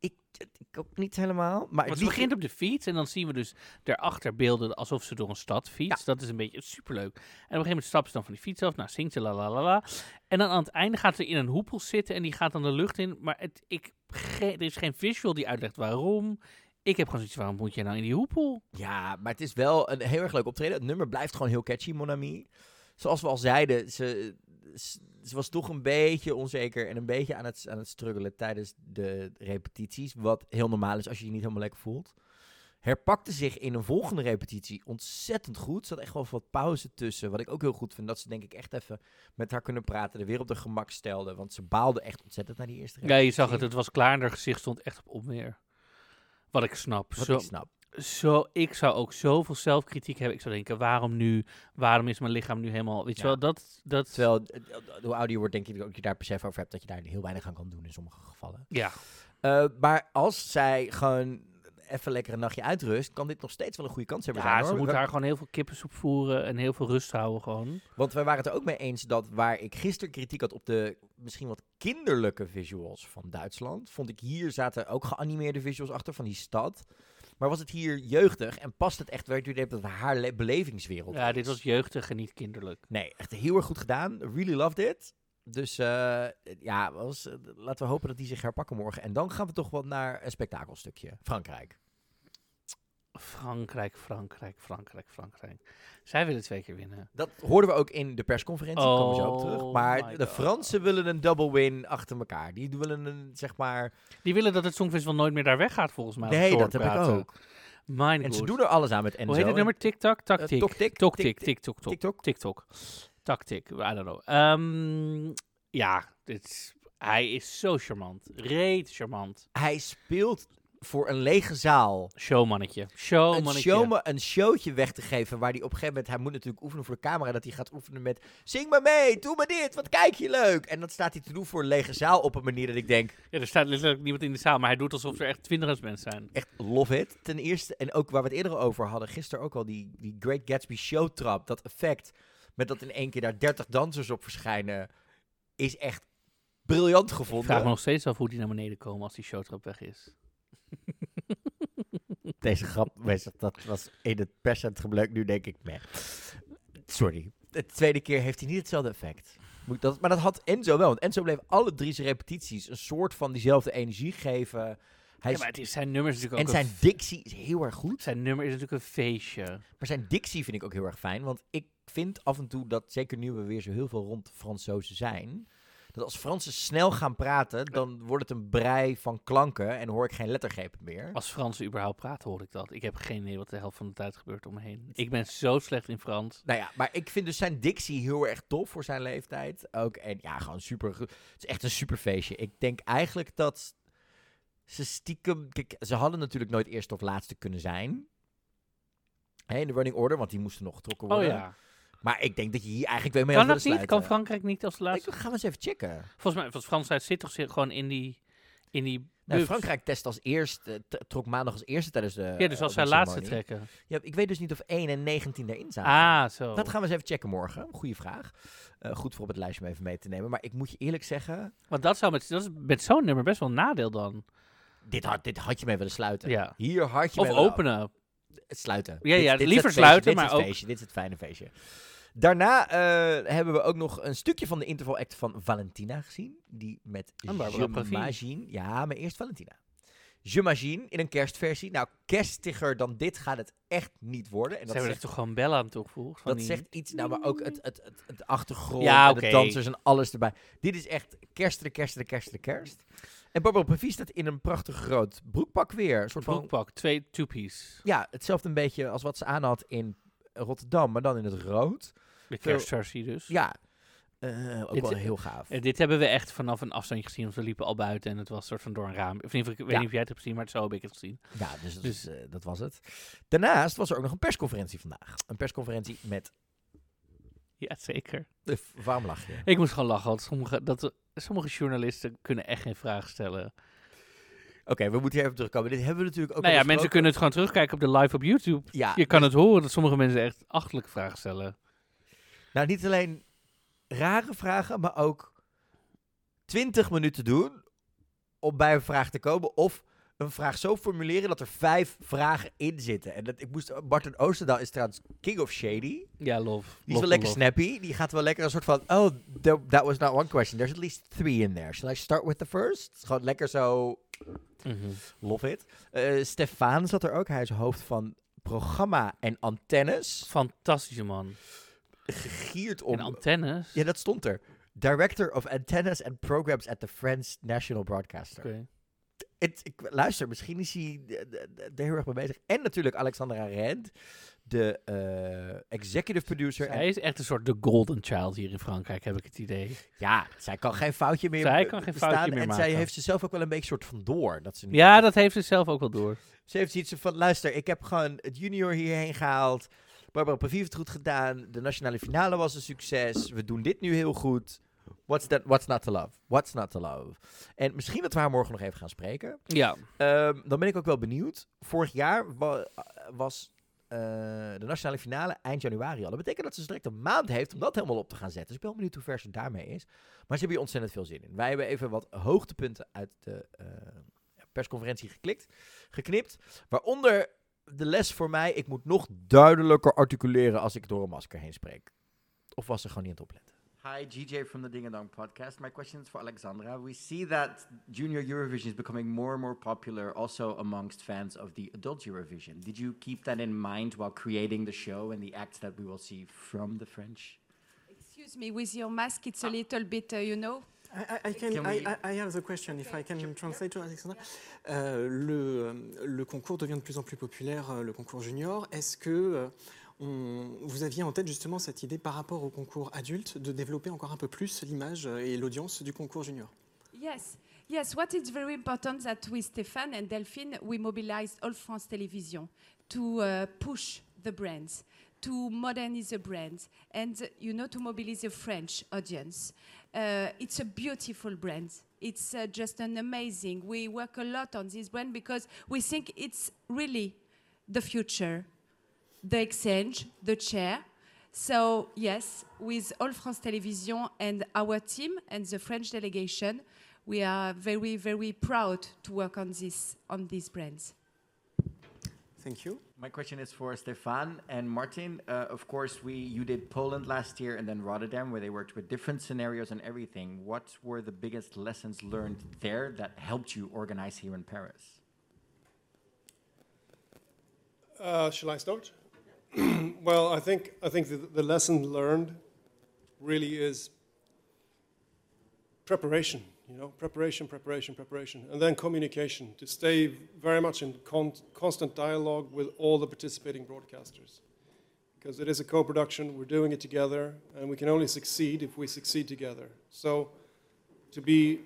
Speaker 8: ik, ik ook niet helemaal. Maar
Speaker 2: Want
Speaker 8: het
Speaker 2: ze
Speaker 8: liedje-
Speaker 2: begint op de fiets en dan zien we dus daarachter beelden alsof ze door een stad fietst. Dat is een beetje superleuk. En op een gegeven moment stapt ze dan van die fiets af. Nou, zingt ze la la la la. En dan aan het einde gaat ze in een hoepel zitten en die gaat dan de lucht in. Maar het, ik, ge- er is geen visual die uitlegt waarom. Ik heb gewoon zoiets van, waarom moet je nou in die hoepel?
Speaker 8: Ja, maar het is wel een heel erg leuk optreden. Het nummer blijft gewoon heel catchy, Mon Ami. Zoals we al zeiden, ze,
Speaker 1: s- ze was toch een beetje onzeker en een beetje aan het, aan het struggelen tijdens de repetities. Wat heel normaal is als je je niet helemaal lekker voelt. Herpakte zich in een volgende repetitie ontzettend goed. Zat echt wel wat pauze tussen. Wat ik ook heel goed vind. Dat ze denk ik echt even met haar kunnen praten. Er weer op de gemak stelde. Want ze baalde echt ontzettend naar die eerste
Speaker 2: Ja,
Speaker 1: repetitie.
Speaker 2: je zag het. Het was klaar en haar gezicht stond echt op onweer. Wat ik snap.
Speaker 1: Wat
Speaker 2: Zo,
Speaker 1: ik snap.
Speaker 2: zo, ik zou ook zoveel zelfkritiek hebben. Ik zou denken, waarom nu? Waarom is mijn lichaam nu helemaal... Weet je
Speaker 1: Ja.
Speaker 2: wel, dat... dat
Speaker 1: Terwijl, eh, eh, hoe ouder je wordt, denk ik dat je daar besef over hebt dat je daar heel weinig aan kan doen in sommige gevallen.
Speaker 2: ja,
Speaker 1: Eh, maar als zij gewoon even lekker een nachtje uitrust, kan dit nog steeds wel een goede kans hebben.
Speaker 2: ja
Speaker 1: zijn,
Speaker 2: ze
Speaker 1: hoor.
Speaker 2: moet
Speaker 1: We-
Speaker 2: daar gewoon heel veel kippensoep voeren en heel veel rust houden gewoon.
Speaker 1: Want wij waren het er ook mee eens dat waar ik gisteren kritiek had op de misschien wat kinderlijke visuals van Duitsland, vond ik hier zaten ook geanimeerde visuals achter van die stad. Maar was het hier jeugdig en past het echt, werd u dat het haar le- belevingswereld
Speaker 2: Ja,
Speaker 1: is?
Speaker 2: dit was jeugdig en niet kinderlijk.
Speaker 1: Nee, echt heel erg goed gedaan. Really loved it. Dus eh, ja, was, eh, laten we hopen dat die zich herpakken morgen. En dan gaan we toch wel naar een spektakelstukje. Frankrijk.
Speaker 2: Frankrijk, Frankrijk, Frankrijk, Frankrijk. Zij willen twee keer winnen.
Speaker 1: Dat hoorden we ook in de persconferentie, komen we zo op terug.
Speaker 2: Oh
Speaker 1: Maar
Speaker 2: my
Speaker 1: de
Speaker 2: God.
Speaker 1: Fransen willen een double win achter elkaar. Die willen een, zeg maar...
Speaker 2: Die willen dat het Songfestival nooit meer daar weggaat volgens mij.
Speaker 1: nee, dat heb ik ook.
Speaker 2: Mijn
Speaker 1: En ze
Speaker 2: goed.
Speaker 1: doen er alles aan met Enzo.
Speaker 2: Hoe heet het nummer? Tik-tak,
Speaker 1: Eh,
Speaker 2: tak-tik.
Speaker 1: Tok-tik.
Speaker 2: Tok-tik,
Speaker 1: tik-tik,
Speaker 2: tik-tok, tok.
Speaker 1: TikTok.
Speaker 2: TikTok. Tactic, I don't know. Ehm, ja, dit, is- hij is zo charmant. Reet charmant.
Speaker 1: Hij speelt voor een lege zaal.
Speaker 2: Showmannetje.
Speaker 1: een,
Speaker 2: Showmannetje.
Speaker 1: showman, een showtje weg te geven waar hij op een gegeven moment, hij moet natuurlijk oefenen voor de camera, dat hij gaat oefenen met zing maar mee, doe maar dit, wat kijk je leuk. En dat staat hij te doen voor een lege zaal op een manier dat ik denk,
Speaker 2: Ja, er staat letterlijk niemand in de zaal, maar hij doet alsof er echt twintig mensen zijn.
Speaker 1: echt love it. Ten eerste, en ook waar we het eerder over hadden, gisteren ook al die, die Great Gatsby showtrap, dat effect met dat in één keer daar 30 dansers op verschijnen, is echt briljant
Speaker 2: Ik vraag me
Speaker 1: gevonden.
Speaker 2: nog steeds af hoe die naar beneden komen als die showtrap weg is.
Speaker 1: Deze grap, was- dat was in het perscentrum leuk, nu denk ik, meh. Sorry. De tweede keer heeft hij niet hetzelfde effect. Moet ik dat, maar dat had Enzo wel. Want Enzo bleef alle drie zijn repetities een soort van diezelfde energie geven. Hij
Speaker 2: Ja,
Speaker 1: is-
Speaker 2: maar het is, zijn nummer is natuurlijk
Speaker 1: en
Speaker 2: ook een
Speaker 1: zijn
Speaker 2: f-
Speaker 1: dictie is heel erg goed.
Speaker 2: zijn nummer is natuurlijk een feestje.
Speaker 1: Maar zijn dictie vind ik ook heel erg fijn. Want ik vind af en toe dat, zeker nu we weer zo heel veel rond Fransozen zijn... dat als Fransen snel gaan praten, dan wordt het een brei van klanken... en hoor ik geen lettergrepen meer.
Speaker 2: Als Fransen überhaupt praten, hoor ik dat. Ik heb geen idee wat de helft van de tijd gebeurt om me heen. Ik ben zo slecht in Frans.
Speaker 1: Nou ja, maar ik vind dus zijn dictie heel erg tof voor zijn leeftijd. Ook, en ja, gewoon super. goed. Het is echt een super feestje. Ik denk eigenlijk dat ze stiekem. Kijk, ze hadden natuurlijk nooit eerste of laatste kunnen zijn. Hè, in de running order, want die moesten nog getrokken
Speaker 2: Oh
Speaker 1: worden.
Speaker 2: ja.
Speaker 1: Maar ik denk dat je hier eigenlijk weer mee
Speaker 2: Kan
Speaker 1: had
Speaker 2: dat
Speaker 1: willen
Speaker 2: niet? Kan
Speaker 1: sluiten.
Speaker 2: Frankrijk niet als laatste?
Speaker 1: Ik, gaan we eens even checken.
Speaker 2: Volgens mij, want Fransheid zit toch zi- gewoon in die... In die
Speaker 1: Nou,
Speaker 2: bubs.
Speaker 1: Frankrijk test als eerste, eh, t- trok maandag als eerste tijdens de.
Speaker 2: Dus- Ja, dus
Speaker 1: eh,
Speaker 2: als zij
Speaker 1: openingsceremonie.
Speaker 2: laatste trekken.
Speaker 1: Ja, ik weet dus niet of 1 en 19 daarin zaten.
Speaker 2: Ah, zo.
Speaker 1: Dat gaan we eens even checken morgen. Goeie vraag. Eh, goed voor op het lijstje om even mee te nemen. Maar ik moet je eerlijk zeggen,
Speaker 2: Want dat, zou met, dat is met zo'n nummer best wel een nadeel dan.
Speaker 1: dit had, dit had je mee willen sluiten.
Speaker 2: Ja.
Speaker 1: Hier had je
Speaker 2: Of
Speaker 1: mee willen-
Speaker 2: openen.
Speaker 1: Het sluiten.
Speaker 2: Ja,
Speaker 1: Dit-
Speaker 2: ja,
Speaker 1: dit is
Speaker 2: liever
Speaker 1: het feestje,
Speaker 2: sluiten,
Speaker 1: dit is
Speaker 2: maar
Speaker 1: het
Speaker 2: ook-
Speaker 1: feestje, dit is het fijne feestje. Daarna eh, hebben we ook nog een stukje van de interval act van Valentina gezien. Die met
Speaker 2: En Barbara
Speaker 1: Je
Speaker 2: Pravi.
Speaker 1: Magine. Ja, maar eerst Valentina. Je Magine in een kerstversie. Nou, kerstiger dan dit gaat het echt niet worden. En
Speaker 2: Ze
Speaker 1: dat
Speaker 2: hebben
Speaker 1: zegt-
Speaker 2: er toch gewoon bellen aan toegevoegd? van
Speaker 1: Dat
Speaker 2: die-
Speaker 1: zegt iets, nou, maar ook het, het, het, het achtergrond,
Speaker 2: Ja,
Speaker 1: en de
Speaker 2: oké.
Speaker 1: dansers en alles erbij. Dit is echt kerstere, kerstere, kerstere, kerst. En Barbara Pravi staat in een prachtig groot broekpak weer. Een soort van,
Speaker 2: Broekpak, twee two-piece.
Speaker 1: ja, hetzelfde een beetje als wat ze aan had in Rotterdam, maar dan in het rood.
Speaker 2: De
Speaker 1: Veel-
Speaker 2: kerstversie dus.
Speaker 1: Ja, eh, ook
Speaker 2: Het-
Speaker 1: wel heel gaaf.
Speaker 2: Eh, dit hebben we echt vanaf een afstandje gezien, want we liepen al buiten en het was een soort van door een raam. Of in ieder geval, ik weet
Speaker 1: Ja.
Speaker 2: niet of jij het hebt gezien, maar zo heb ik het gezien.
Speaker 1: Ja, dus, dat is,
Speaker 2: Dus-
Speaker 1: eh, dat was het. Daarnaast was er ook nog een persconferentie vandaag. Een persconferentie met...
Speaker 2: Ja, zeker.
Speaker 1: eh, waarom lach je?
Speaker 2: Ik moest gewoon lachen, want sommige, dat, sommige journalisten kunnen echt geen vragen stellen.
Speaker 1: Oké, we moeten hier even terugkomen. Dit hebben we natuurlijk ook
Speaker 2: nou
Speaker 1: al
Speaker 2: ja, mensen
Speaker 1: besproken.
Speaker 2: kunnen het Ah, gewoon terugkijken op de live op YouTube.
Speaker 1: Ja,
Speaker 2: Je kan het horen dat sommige mensen echt achtelijke vragen stellen.
Speaker 1: Nou, niet alleen rare vragen, maar ook 20 minuten doen om bij een vraag te komen. Of een vraag zo formuleren dat er vijf vragen in zitten. En dat, ik moest, Martin Oosterdaal is trouwens king of shady.
Speaker 2: Ja, love.
Speaker 1: Die is wel lekker snappy. Die gaat wel lekker een soort van... Oh, there- that was not one question. There's at least three in there. Shall I start with the first? Gewoon lekker zo...
Speaker 2: Mhm.
Speaker 1: Love it. Eh, Stefan zat er ook. Hij is hoofd van programma en antennes.
Speaker 2: Fantastische man.
Speaker 1: Gegierd
Speaker 2: En
Speaker 1: om...
Speaker 2: antennes.
Speaker 1: Ja, dat stond er. Director of Antennas and Programs at the French National Broadcaster.
Speaker 2: Oké.
Speaker 1: Het- ik, luister, misschien is hij eh, eh, er heel erg mee bezig. En natuurlijk Alexandra Rend, de eh, executive producer.
Speaker 2: Hij
Speaker 1: En,
Speaker 2: is echt een soort de golden child hier in Frankrijk, heb ik het idee.
Speaker 1: ja, zij kan geen foutje meer
Speaker 2: Zij
Speaker 1: be-
Speaker 2: kan geen
Speaker 1: bestaan.
Speaker 2: foutje meer
Speaker 1: en zij
Speaker 2: maken.
Speaker 1: heeft ze zelf ook wel een beetje soort van door. Dat ze, niet-
Speaker 2: Ja, dat heeft ze zelf ook wel door.
Speaker 1: ze heeft iets van, luister, ik heb gewoon het junior hierheen gehaald. Barbara Pavier heeft het goed gedaan. De nationale finale was een succes. We doen dit nu heel goed. What's, that, what's not to love? What's not to love? En misschien dat we haar morgen nog even gaan spreken.
Speaker 2: Ja.
Speaker 1: Ehm, dan ben ik ook wel benieuwd. Vorig jaar wa- was eh, de nationale finale eind januari al. Dat betekent dat ze dus direct een maand heeft om dat helemaal op te gaan zetten. Dus ik ben wel benieuwd hoe ver ze daarmee is. Maar ze hebben hier ontzettend veel zin in. Wij hebben even wat hoogtepunten uit de eh, persconferentie geklikt, geknipt. Waaronder de les voor mij. Ik moet nog duidelijker articuleren als ik door een masker heen spreek. Of was ze gewoon niet aan het opletten?
Speaker 9: Hi, GJ from the Ding and Dong podcast. My question is for Alexandra. We see that Junior Eurovision is becoming more and more popular also amongst fans of the Adult Eurovision. Did you keep that in mind while creating the show and the acts that we will see from the French?
Speaker 5: Excuse me, with your mask, it's a little bit, uh, you know.
Speaker 10: I, I- I can,
Speaker 9: Can
Speaker 10: I,
Speaker 9: we-
Speaker 10: I, I have the question if I can translate to Alexandra. Euh, le, euh, le concours devient de plus en plus populaire, euh, le concours junior. Est-ce que euh, on- vous aviez en tête justement cette idée par rapport au concours adulte de développer encore un peu plus l'image euh, et l'audience du concours junior
Speaker 5: Yes, yes. What is very important that with Stéphane and Delphine, we mobilized all France Television to uh, push the brands, to modernize the brands, and uh, you know to mobilize the French audience. Uh, it's a beautiful brand. It's uh, just an amazing. We work a lot on this brand because we think it's really the future, the exchange, the chair. So, yes, with All France Television and our team and the French delegation, we are very, very proud to work on this, on these brands.
Speaker 10: Thank you.
Speaker 9: My question is for Stefan and Martin. Uh, of course, we you did Poland last year and then Rotterdam, where they worked with different scenarios and everything. What were the biggest lessons learned there that helped you organize here in Paris?
Speaker 8: Uh, shall I start? well, I think I think the, the lesson learned really is preparation. You know, preparation, preparation, preparation, and then communication to stay very much in con- constant dialogue with all the participating broadcasters, because it is a co-production. We're doing it together, and we can only succeed if we succeed together. So, to be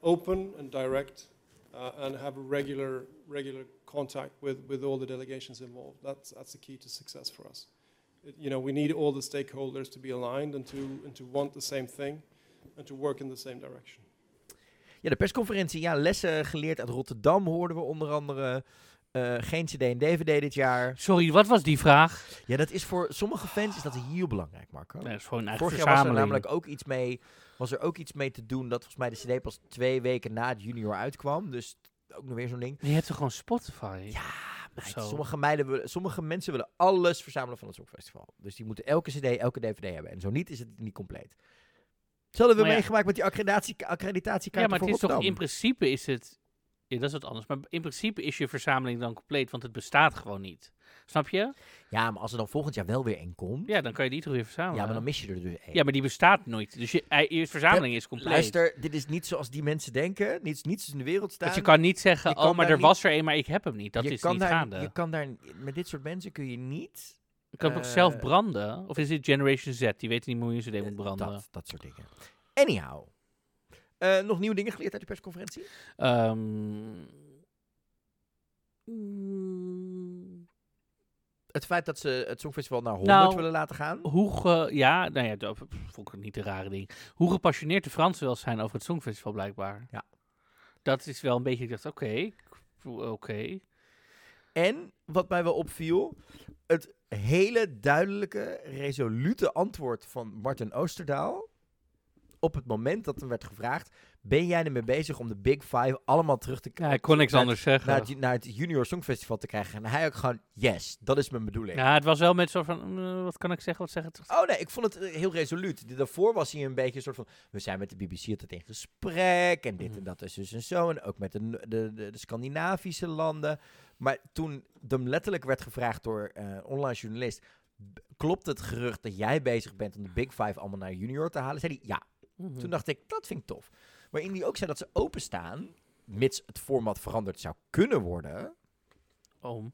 Speaker 8: open and direct uh, and have a regular regular contact with, with all the delegations involved. That's that's the key to success for us. It- you know, we need all the stakeholders to be aligned and to and to want the same thing and to work in the same direction.
Speaker 1: Ja, de persconferentie. Ja, lessen geleerd uit Rotterdam hoorden we onder andere. Eh, geen CD en DVD dit jaar.
Speaker 2: Sorry, wat was die vraag?
Speaker 1: Ja, dat is voor sommige fans is dat heel belangrijk, Marco.
Speaker 2: Nee, dat is gewoon een eigen
Speaker 1: Vorig jaar was er
Speaker 2: verzameling.
Speaker 1: namelijk ook iets mee. Was er ook iets mee te doen dat volgens mij de CD pas twee weken na het junior uitkwam. Dus ook nog weer zo'n ding.
Speaker 2: Je hebt toch gewoon Spotify?
Speaker 1: Ja, meid,
Speaker 2: zo.
Speaker 1: sommige, meiden willen- sommige mensen willen alles verzamelen van het Songfestival. Dus die moeten elke CD, elke DVD hebben. En zo niet is het niet compleet. Zullen we
Speaker 2: Maar ja.
Speaker 1: meegemaakt met die accreditatie, accreditatiekaarten
Speaker 11: Ja,
Speaker 2: maar
Speaker 1: voor
Speaker 2: het is toch
Speaker 1: Rotterdam?
Speaker 2: in principe is het. Ja, dat is wat anders. Maar in principe is je verzameling dan compleet, want het bestaat gewoon niet. Snap je?
Speaker 1: Ja, maar als er dan volgend jaar wel weer één komt.
Speaker 2: Ja, dan kan je die toch weer verzamelen.
Speaker 1: Ja, maar dan mis je er dus één.
Speaker 2: Ja, maar die bestaat nooit. Dus je, eh, je verzameling is compleet.
Speaker 1: Luister, dit is niet zoals die mensen denken. Niets, niets in de wereld staan.
Speaker 2: Want je kan niet zeggen,
Speaker 1: Je
Speaker 2: oh,
Speaker 1: kan
Speaker 2: maar
Speaker 1: daar
Speaker 2: er was er één, maar ik heb hem niet. Dat
Speaker 1: Je
Speaker 2: is
Speaker 1: kan
Speaker 2: niet
Speaker 1: daar,
Speaker 2: gaande.
Speaker 1: Je
Speaker 2: Je
Speaker 1: kan daar, met dit soort mensen kun je niet...
Speaker 2: kan
Speaker 1: eh,
Speaker 2: toch zelf branden? Of is dit Generation Z? Die weten niet meer hoe je ze deed moet branden.
Speaker 1: eh, Dat, dat soort dingen. Anyhow. Eh, nog nieuwe dingen geleerd uit de persconferentie?
Speaker 2: Ehm, mm,
Speaker 1: Het feit dat ze het Songfestival naar 100
Speaker 2: Nou,
Speaker 1: willen laten gaan.
Speaker 2: hoe ge- ja, nou ja, dat vond ik niet een rare ding. Hoe gepassioneerd de Fransen wel zijn over het Songfestival blijkbaar.
Speaker 1: Ja.
Speaker 2: Dat is wel een beetje, ik dacht, oké, oké.
Speaker 1: En, wat mij wel opviel, het hele duidelijke, resolute antwoord van Martin Oosterdaal. Op het moment dat hem werd gevraagd, ben jij ermee bezig om de Big Five allemaal terug te
Speaker 2: Ja, Nou, ik kon niks
Speaker 1: naar-
Speaker 2: anders zeggen.
Speaker 1: naar, het, ju- naar het Junior Songfestival te krijgen. En hij ook gewoon, yes, dat is mijn bedoeling.
Speaker 2: Ja, Nou, het was wel met zo van, eh, wat kan ik zeggen, wat zeggen het
Speaker 1: Oh nee, ik vond het eh, heel resoluut. De- Daarvoor was hij een beetje een soort van... We zijn met de BBC altijd in gesprek en dit
Speaker 2: Mhm.
Speaker 1: en dat en zus en zo. En ook met de, de, de, de Scandinavische landen. Maar toen hem letterlijk werd gevraagd door eh, een online journalist... "B- Klopt het gerucht dat jij bezig bent om de Big Five allemaal naar junior te halen? Zei hij, ja,
Speaker 2: Mhm. mm.
Speaker 1: Toen dacht ik, dat vind ik tof. Waarin die ook zei dat ze openstaan, mits het format veranderd zou kunnen worden,
Speaker 2: Oh, Oom.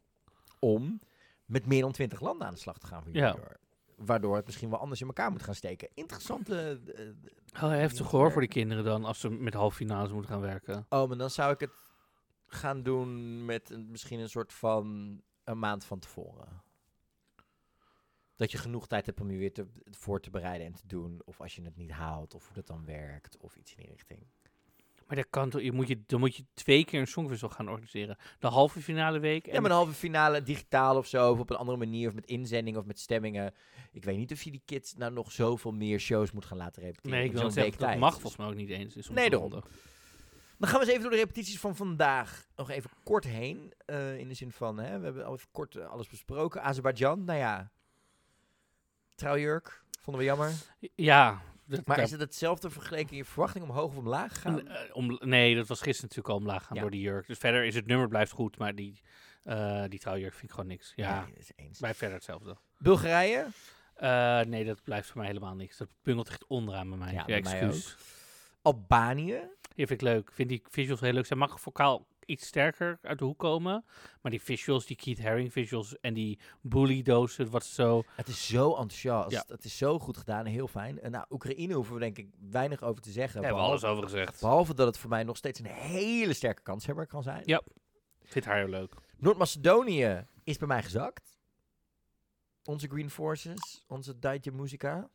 Speaker 1: om met meer dan 20 landen aan de slag te gaan voor
Speaker 2: Ja.
Speaker 1: junior. Waardoor het misschien wel anders in elkaar moet gaan steken. Interessante... eh, eh,
Speaker 2: Oh, heftig hoor voor die kinderen dan, als ze met halve finales moeten gaan werken.
Speaker 1: oh, maar dan zou ik het gaan doen met een, misschien een soort van een maand van tevoren. Dat je genoeg tijd hebt om je weer te, voor te bereiden en te doen. Of als je het niet haalt, of hoe dat dan werkt, of iets in die richting.
Speaker 2: Maar dat kan toch, je moet je, dan moet je twee keer een songfestival gaan organiseren. De halve finale week en
Speaker 1: Ja, maar een halve finale digitaal of zo, of op een andere manier, of met inzending of met stemmingen. Ik weet niet of je die kids nou nog zoveel meer shows moet gaan laten repeteren.
Speaker 2: Nee, ik
Speaker 1: in
Speaker 2: wil
Speaker 1: zo'n
Speaker 2: het zeggen,
Speaker 1: week
Speaker 2: dat
Speaker 1: tijd.
Speaker 2: mag volgens mij ook niet eens. in sommige
Speaker 1: Nee, daarom.
Speaker 2: landen.
Speaker 1: Dan gaan we eens even door de repetities van vandaag nog even kort heen. eh, in de zin van, hè, we hebben al even kort eh, alles besproken. Azerbeidzjan, nou ja. Trouwjurk, vonden we jammer.
Speaker 2: Ja. Dat,
Speaker 1: Maar
Speaker 2: daar-
Speaker 1: is het hetzelfde vergeleken in je verwachting omhoog of omlaag gegaan?
Speaker 2: eh, om, nee, dat was gisteren natuurlijk al omlaag gaan
Speaker 1: Ja.
Speaker 2: door die jurk. Dus verder is het nummer blijft goed, maar die, eh, die trouwjurk vind ik gewoon niks. Ja,
Speaker 1: Nee, dat is eens.
Speaker 2: blijft verder hetzelfde.
Speaker 1: Bulgarije?
Speaker 2: Eh, nee, dat blijft voor mij helemaal niks. Dat bungelt echt onderaan bij mij.
Speaker 1: Ja,
Speaker 2: Ja,
Speaker 1: bij mij
Speaker 2: excuus.
Speaker 1: Albanië?
Speaker 2: Die vind ik leuk. Vind die visuals heel leuk. Zij mag vocaal iets sterker uit de hoek komen. Maar die visuals, die Keith Haring visuals en die bully dozen, wat zo.
Speaker 1: Het is zo enthousiast.
Speaker 2: Ja.
Speaker 1: Het is zo goed gedaan. Heel fijn. En nou, Oekraïne hoeven we denk ik weinig over te zeggen.
Speaker 2: Daar hebben we alles
Speaker 1: behalve,
Speaker 2: over gezegd.
Speaker 1: behalve dat het voor mij nog steeds een hele sterke kanshebber kan zijn.
Speaker 2: Ja. Vindt haar heel leuk.
Speaker 1: Noord-Macedonië is bij mij gezakt. Onze Green Forces. Onze Daitje Musica.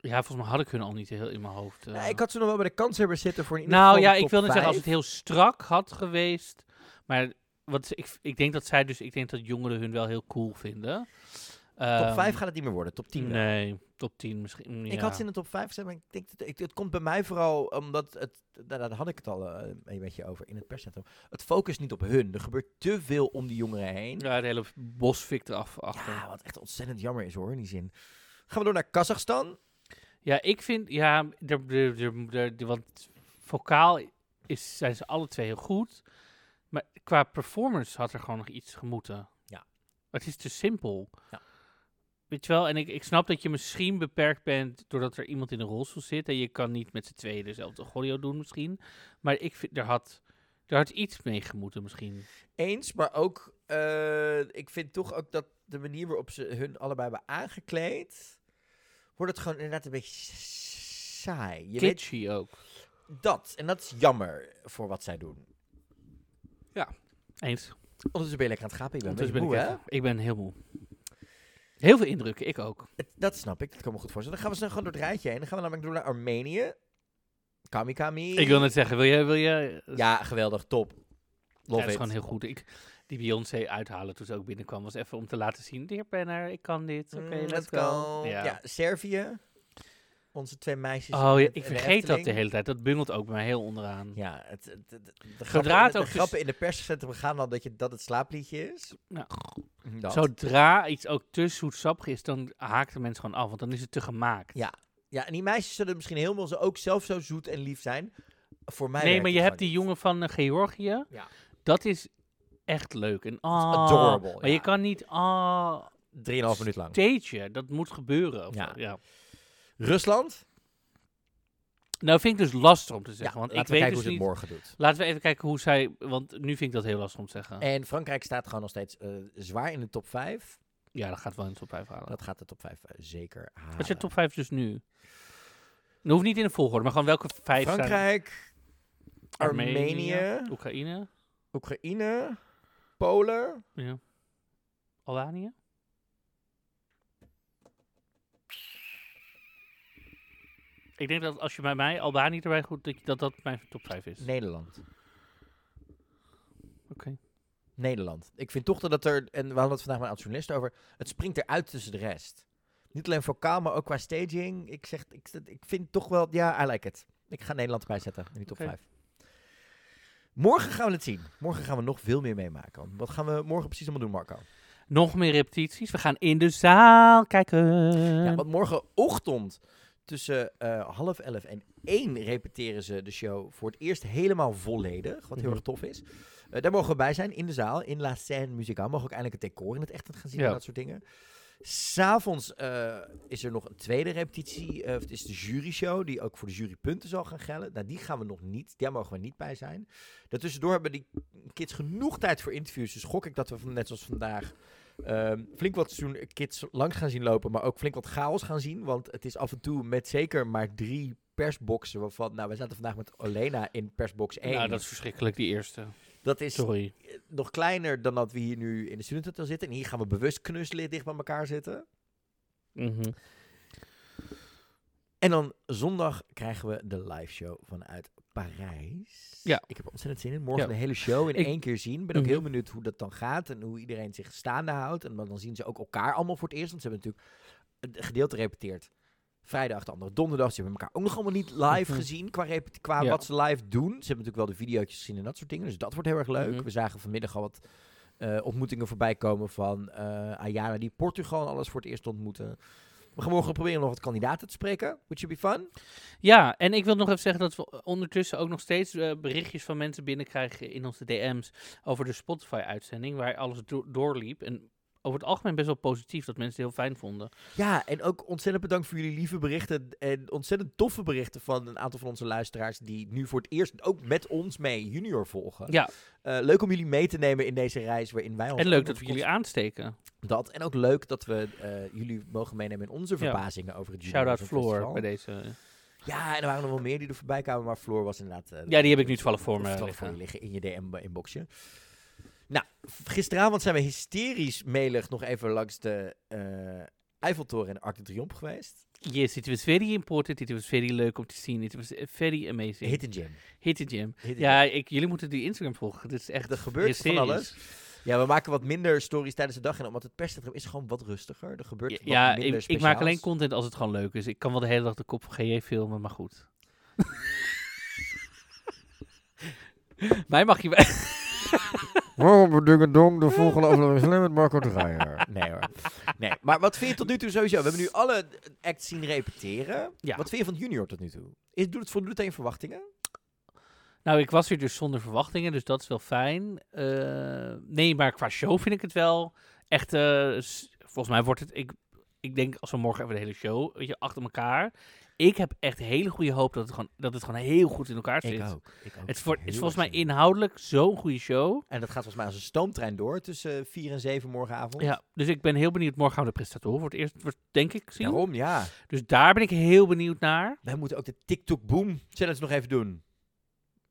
Speaker 2: Ja, volgens mij had ik hun al niet heel in mijn hoofd. eh.
Speaker 1: Nou, ik had ze nog wel bij de kanshebbers zitten voor in ieder
Speaker 2: nou
Speaker 1: geval
Speaker 2: ja,
Speaker 1: de
Speaker 2: ik
Speaker 1: top
Speaker 2: wil net zeggen, als het
Speaker 1: vijf.
Speaker 2: heel strak had geweest. Maar wat, ze- ik, ik denk dat zij dus, ik denk dat jongeren hun wel heel cool vinden.
Speaker 1: Top
Speaker 2: Ehm,
Speaker 1: 5 gaat het niet meer worden. Top 10 wel.
Speaker 2: Nee, top 10 misschien.
Speaker 1: Ik
Speaker 2: ja.
Speaker 1: had ze in de top 5 gezet, maar ik denk dat, ik, het komt bij mij vooral omdat het, daar, daar had ik het al eh, een beetje over in het perscentrum. Het focust niet op hun. Er gebeurt te veel om die jongeren heen.
Speaker 2: Ja, het hele bos fikt eraf achter.
Speaker 1: Ja, wat echt ontzettend jammer is hoor, in die zin. Gaan we door naar Kazachstan?
Speaker 2: Ja, ik vind, ja, er, er, er, er- er- want vocaal is, zijn ze alle twee heel goed. Maar qua performance had er gewoon nog iets gemoeten.
Speaker 1: Ja.
Speaker 2: Het is te simpel.
Speaker 1: Ja.
Speaker 2: Weet je wel, en ik, ik snap dat je misschien beperkt bent doordat er iemand in een rolstoel zit. En je kan niet met z'n tweeën dezelfde choreo doen misschien. Maar ik vind, er had, er had iets mee gemoeten misschien.
Speaker 1: Eens, maar ook, eh, ik vind toch ook dat de manier waarop ze hun allebei hebben aangekleed, wordt het gewoon inderdaad een beetje s- saai. Je weet
Speaker 2: Kitschy ook.
Speaker 1: dat, en dat is jammer voor wat zij doen.
Speaker 2: Eens.
Speaker 1: Ondertussen ben je lekker aan het gapen, ik ben,
Speaker 2: Ondertussen
Speaker 1: ben
Speaker 2: ben ik,
Speaker 1: moe, hè?
Speaker 2: even- ik ben heel moe. Heel veel indrukken, ik ook.
Speaker 1: Het- Dat snap ik, dat kan me goed voorstellen. Dan gaan we snel gewoon door het rijtje heen. Dan gaan we namelijk door naar Armenië. Kamikami.
Speaker 2: Ik wil net zeggen, wil je, wil je
Speaker 1: Ja, geweldig, top.
Speaker 2: Ja,
Speaker 1: Love
Speaker 2: dat is
Speaker 1: it.
Speaker 2: gewoon heel goed. Ik, die Beyoncé uithalen toen ze ook binnenkwam was even om te laten zien. Hier ben er, ik kan dit. Oké,
Speaker 1: Mm,
Speaker 2: let's go.
Speaker 1: Ja.
Speaker 2: Ja.
Speaker 1: Servië. Onze twee meisjes.
Speaker 2: Oh, ja,
Speaker 1: en-
Speaker 2: ik
Speaker 1: en de
Speaker 2: vergeet dat de
Speaker 1: Efteling.
Speaker 2: hele tijd. Dat bungelt ook bij mij heel onderaan.
Speaker 1: Ja, het, het, het- de, grappen
Speaker 2: Zodra
Speaker 1: in-
Speaker 2: het
Speaker 1: de
Speaker 2: ook dus-
Speaker 1: grappen in de perscentrum gaan al dat je, dat het slaapliedje is.
Speaker 2: Nou,
Speaker 1: Dat.
Speaker 2: Zodra iets ook te zoetsappig is, dan haakt de mens gewoon af. Want dan is het te gemaakt.
Speaker 1: Ja, Ja, en die meisjes zullen misschien helemaal zo, ook zelf zo zoet en lief zijn. Voor mij
Speaker 2: nee,
Speaker 1: werkt
Speaker 2: maar je
Speaker 1: het
Speaker 2: hebt die
Speaker 1: gewoon
Speaker 2: jongen van eh, Georgië.
Speaker 1: Ja.
Speaker 2: Dat is echt leuk. En, ah,
Speaker 1: adorable,
Speaker 2: Maar
Speaker 1: ja.
Speaker 2: je kan niet... Ah,
Speaker 1: niet. Drieënhalf minuut lang.
Speaker 2: teetje. Dat moet gebeuren. of
Speaker 1: Ja.
Speaker 2: zo, ja.
Speaker 1: Rusland?
Speaker 2: Nou, vind ik dus lastig om te
Speaker 1: Ja,
Speaker 2: zeggen. want ik
Speaker 1: laten we
Speaker 2: weet
Speaker 1: kijken
Speaker 2: dus
Speaker 1: hoe ze het
Speaker 2: niet...
Speaker 1: morgen doet.
Speaker 2: Laten we even kijken hoe zij... Want nu vind ik dat heel lastig om te zeggen.
Speaker 1: En Frankrijk staat gewoon nog steeds eh, zwaar in de top 5.
Speaker 2: Ja, dat gaat wel in de top 5 halen.
Speaker 1: Dat gaat de top 5 zeker halen.
Speaker 2: Wat is je top 5 dus nu? Dat hoeft niet in de volgorde, maar gewoon welke 5
Speaker 1: Frankrijk,
Speaker 2: zijn Armenië,
Speaker 1: Armenië,
Speaker 2: Oekraïne,
Speaker 1: Oekraïne, Polen.
Speaker 2: ja. Albanië? Ik denk dat als je bij mij Albanië erbij goed, dat dat, dat mijn top 5 is.
Speaker 1: Nederland.
Speaker 2: Oké.
Speaker 1: Nederland. Ik vind toch dat er, en we hadden het vandaag met een journalist over, het springt eruit tussen de rest. Niet alleen vocaal, maar ook qua staging. Ik zeg, ik, ik vind toch wel, ja, I like it. Ik ga Nederland erbij zetten in die top
Speaker 2: Oké.
Speaker 1: 5. Morgen gaan we het zien. Morgen gaan we nog veel meer meemaken. Want Wat gaan we morgen precies allemaal doen, Marco?
Speaker 2: Nog meer repetities. We gaan in de zaal kijken.
Speaker 1: Ja, want morgenochtend tussen eh, half elf en één repeteren ze de show voor het eerst helemaal volledig. Wat heel
Speaker 2: Mhm.
Speaker 1: erg tof is. Eh, daar mogen we bij zijn in de zaal, in La Scène Muzikaal. Mogen we ook eindelijk het decor in het echt gaan zien
Speaker 2: Ja.
Speaker 1: en dat soort dingen. S'avonds eh is er nog een tweede repetitie. eh, het is de juryshow, die ook voor de jury punten zal gaan gelden. Nou, die gaan we nog niet. Daar mogen we niet bij zijn. Daartussendoor hebben die kids genoeg tijd voor interviews. Dus gok ik dat we, van- net zoals vandaag, ehm, flink wat zoen- kids langs gaan zien lopen. Maar ook flink wat chaos gaan zien. Want het is af en toe met zeker maar drie persboxen. Waarvan, nou, we zaten vandaag met Olena in persbox 1.
Speaker 2: Nou, dat is verschrikkelijk, die eerste.
Speaker 1: dat is
Speaker 2: Sorry.
Speaker 1: nog kleiner dan dat we hier nu in de studentenhotel zitten. En hier gaan we bewust knuslig dicht bij elkaar zitten.
Speaker 2: Mhm.
Speaker 1: En dan zondag krijgen we de live show vanuit Parijs.
Speaker 2: Ja.
Speaker 1: Ik heb er ontzettend zin in. Morgen
Speaker 2: Ja.
Speaker 1: de hele show in
Speaker 2: Ik-
Speaker 1: één keer zien. Ik ben ook
Speaker 2: Mhm.
Speaker 1: heel benieuwd hoe dat dan gaat en hoe iedereen zich staande houdt. En want dan zien ze ook elkaar allemaal voor het eerst. Want ze hebben natuurlijk een gedeelte repeteerd. Vrijdag, de andere donderdag. Ze hebben elkaar ook nog allemaal niet live
Speaker 2: Mhm.
Speaker 1: gezien qua, repet- qua
Speaker 2: Ja.
Speaker 1: wat ze live doen. Ze hebben natuurlijk wel de video's gezien en dat soort dingen. Dus dat wordt heel erg leuk.
Speaker 2: Mhm.
Speaker 1: We zagen vanmiddag al wat eh, ontmoetingen voorbij komen van eh Ayana die Portugal en alles voor het eerst ontmoeten. We gaan morgen proberen nog wat kandidaten te spreken. Would you be fun?
Speaker 2: Ja, en ik wil nog even zeggen dat we ondertussen ook nog steeds eh, berichtjes van mensen binnenkrijgen in onze DM's over de Spotify-uitzending, waar alles do- doorliep. En over het algemeen best wel positief dat mensen het heel fijn vonden.
Speaker 1: Ja, en ook ontzettend bedankt voor jullie lieve berichten. En ontzettend toffe berichten van een aantal van onze luisteraars. die nu voor het eerst ook met ons mee junior volgen.
Speaker 2: Ja,
Speaker 1: Eh, leuk om jullie mee te nemen in deze reis waarin wij ons.
Speaker 2: en leuk
Speaker 1: ook
Speaker 2: dat we
Speaker 1: nog
Speaker 2: jullie aansteken.
Speaker 1: Dat. En ook leuk dat we eh, jullie mogen meenemen in onze
Speaker 2: Ja.
Speaker 1: verbazingen over het junior.
Speaker 2: Shout-out
Speaker 1: Songfestival.
Speaker 2: Floor bij deze. eh.
Speaker 1: Ja, en er waren er wel meer die er voorbij kwamen. maar Floor was inderdaad. eh,
Speaker 2: Ja, die heb ik nu toevallig voor me
Speaker 1: toevallig
Speaker 2: liggen.
Speaker 1: voor je liggen in je DM-inboxje. Nou, v- gisteravond zijn we hysterisch melig nog even langs de eh, Eiffeltoren en Arc de Triomphe geweest.
Speaker 2: Yes, it was very important, it was very leuk om te zien, it was eh, very amazing.
Speaker 1: Hit and Jam.
Speaker 2: Hit the gym.
Speaker 1: Hit and
Speaker 2: Ja, ik, jullie moeten die Instagram volgen. Dit is echt
Speaker 1: Er gebeurt
Speaker 2: hysterisch.
Speaker 1: van alles. Ja, we maken wat minder stories tijdens de dag. En omdat het perscentrum is gewoon wat rustiger. Er gebeurt
Speaker 2: Ja,
Speaker 1: wat
Speaker 2: ja,
Speaker 1: minder
Speaker 2: ik, ik maak alleen
Speaker 1: speciaals.
Speaker 2: content als het gewoon leuk is. Ik kan wel de hele dag de kop van GJ filmen, maar goed. Mij mag je... wel-
Speaker 12: Waarom dingen dong, de volgende aflevering slim met Marco de Draaier.
Speaker 1: Nee hoor. Nee, maar wat vind je tot nu toe sowieso? We hebben nu alle acts zien repeteren.
Speaker 2: Ja.
Speaker 1: Wat vind je van Junior tot nu toe? Is, doet het voldoet aan je verwachtingen?
Speaker 2: Nou, ik was weer dus zonder verwachtingen, dus dat is wel fijn. Eh, nee, maar qua show vind ik het wel echt... eh, s- volgens mij wordt het... Ik, ik denk als we morgen even de hele show weet je, achter elkaar... Ik heb echt hele goede hoop dat het gewoon, dat het gewoon heel goed in elkaar zit.
Speaker 1: ook. Ik ook.
Speaker 2: Het is, voor- het is
Speaker 1: Heel
Speaker 2: volgens mij
Speaker 1: erg zin in.
Speaker 2: inhoudelijk zo'n goede show.
Speaker 1: En dat gaat volgens mij als een stoomtrein door tussen 4 en 7 morgenavond.
Speaker 2: Ja, dus ik ben heel benieuwd. Morgen gaan we de presentatoren voor het eerst, voor- denk ik, zien.
Speaker 1: Daarom, ja.
Speaker 2: Dus daar ben ik heel benieuwd naar.
Speaker 1: Wij moeten ook de TikTok Boom Challenge nog even doen.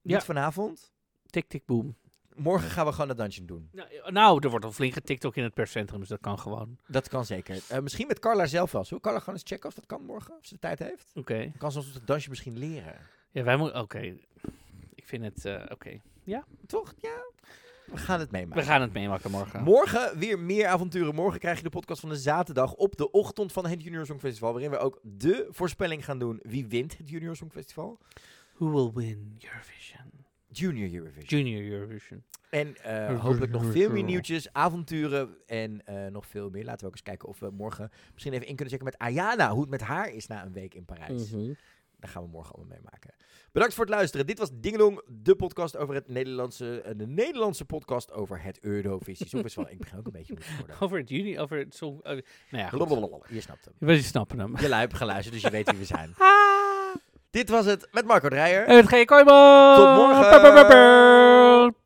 Speaker 2: Ja.
Speaker 1: Niet vanavond.
Speaker 2: Tik, tik, boom.
Speaker 1: Morgen gaan we gewoon dat dungeon doen.
Speaker 2: Nou, nou, er wordt al flink TikTok in het perscentrum, dus dat kan gewoon.
Speaker 1: Dat kan zeker. Eh, misschien met Carla zelf wel. Zullen we Carla gewoon eens checken of dat kan morgen? Of ze de tijd heeft?
Speaker 2: Oké.
Speaker 1: Dan kan ze ons het dansje misschien leren.
Speaker 2: Ja, wij moeten... Oké. Ik vind het... eh, Oké.
Speaker 1: Toch? Ja. We gaan het
Speaker 2: We
Speaker 1: meemaken.
Speaker 2: gaan het meemaken morgen.
Speaker 1: Morgen weer meer avonturen. Morgen krijg je de podcast van de zaterdag op de ochtend van het Junior Songfestival. Waarin we ook de voorspelling gaan doen. Wie wint het Junior Songfestival?
Speaker 2: Who will win Eurovision?
Speaker 1: Junior Eurovision.
Speaker 2: Junior Eurovision.
Speaker 1: En eh, hopelijk nog veel meer nieuwtjes, avonturen en eh, nog veel meer. Laten we ook eens kijken of we morgen misschien even in kunnen checken met Ayana. Hoe het met haar is na een week in Parijs.
Speaker 2: Mhm.
Speaker 1: Daar gaan we morgen allemaal mee maken. Bedankt voor het luisteren. Dit was Dingelong, de podcast over het Nederlandse... eh, de Nederlandse podcast over het Eurovisie Songfestival. Ik begin ook een beetje moe te worden.
Speaker 2: Over het juni... Over het... Song, eh, nou ja, goed.
Speaker 1: Blablabla. Je snapt hem.
Speaker 2: We snappen hem.
Speaker 1: Je hebt geluisterd, dus je weet wie we zijn.
Speaker 2: Ah.
Speaker 1: Dit was het met Marco Dreyer.
Speaker 2: Het G. Kooijman!
Speaker 1: Tot morgen.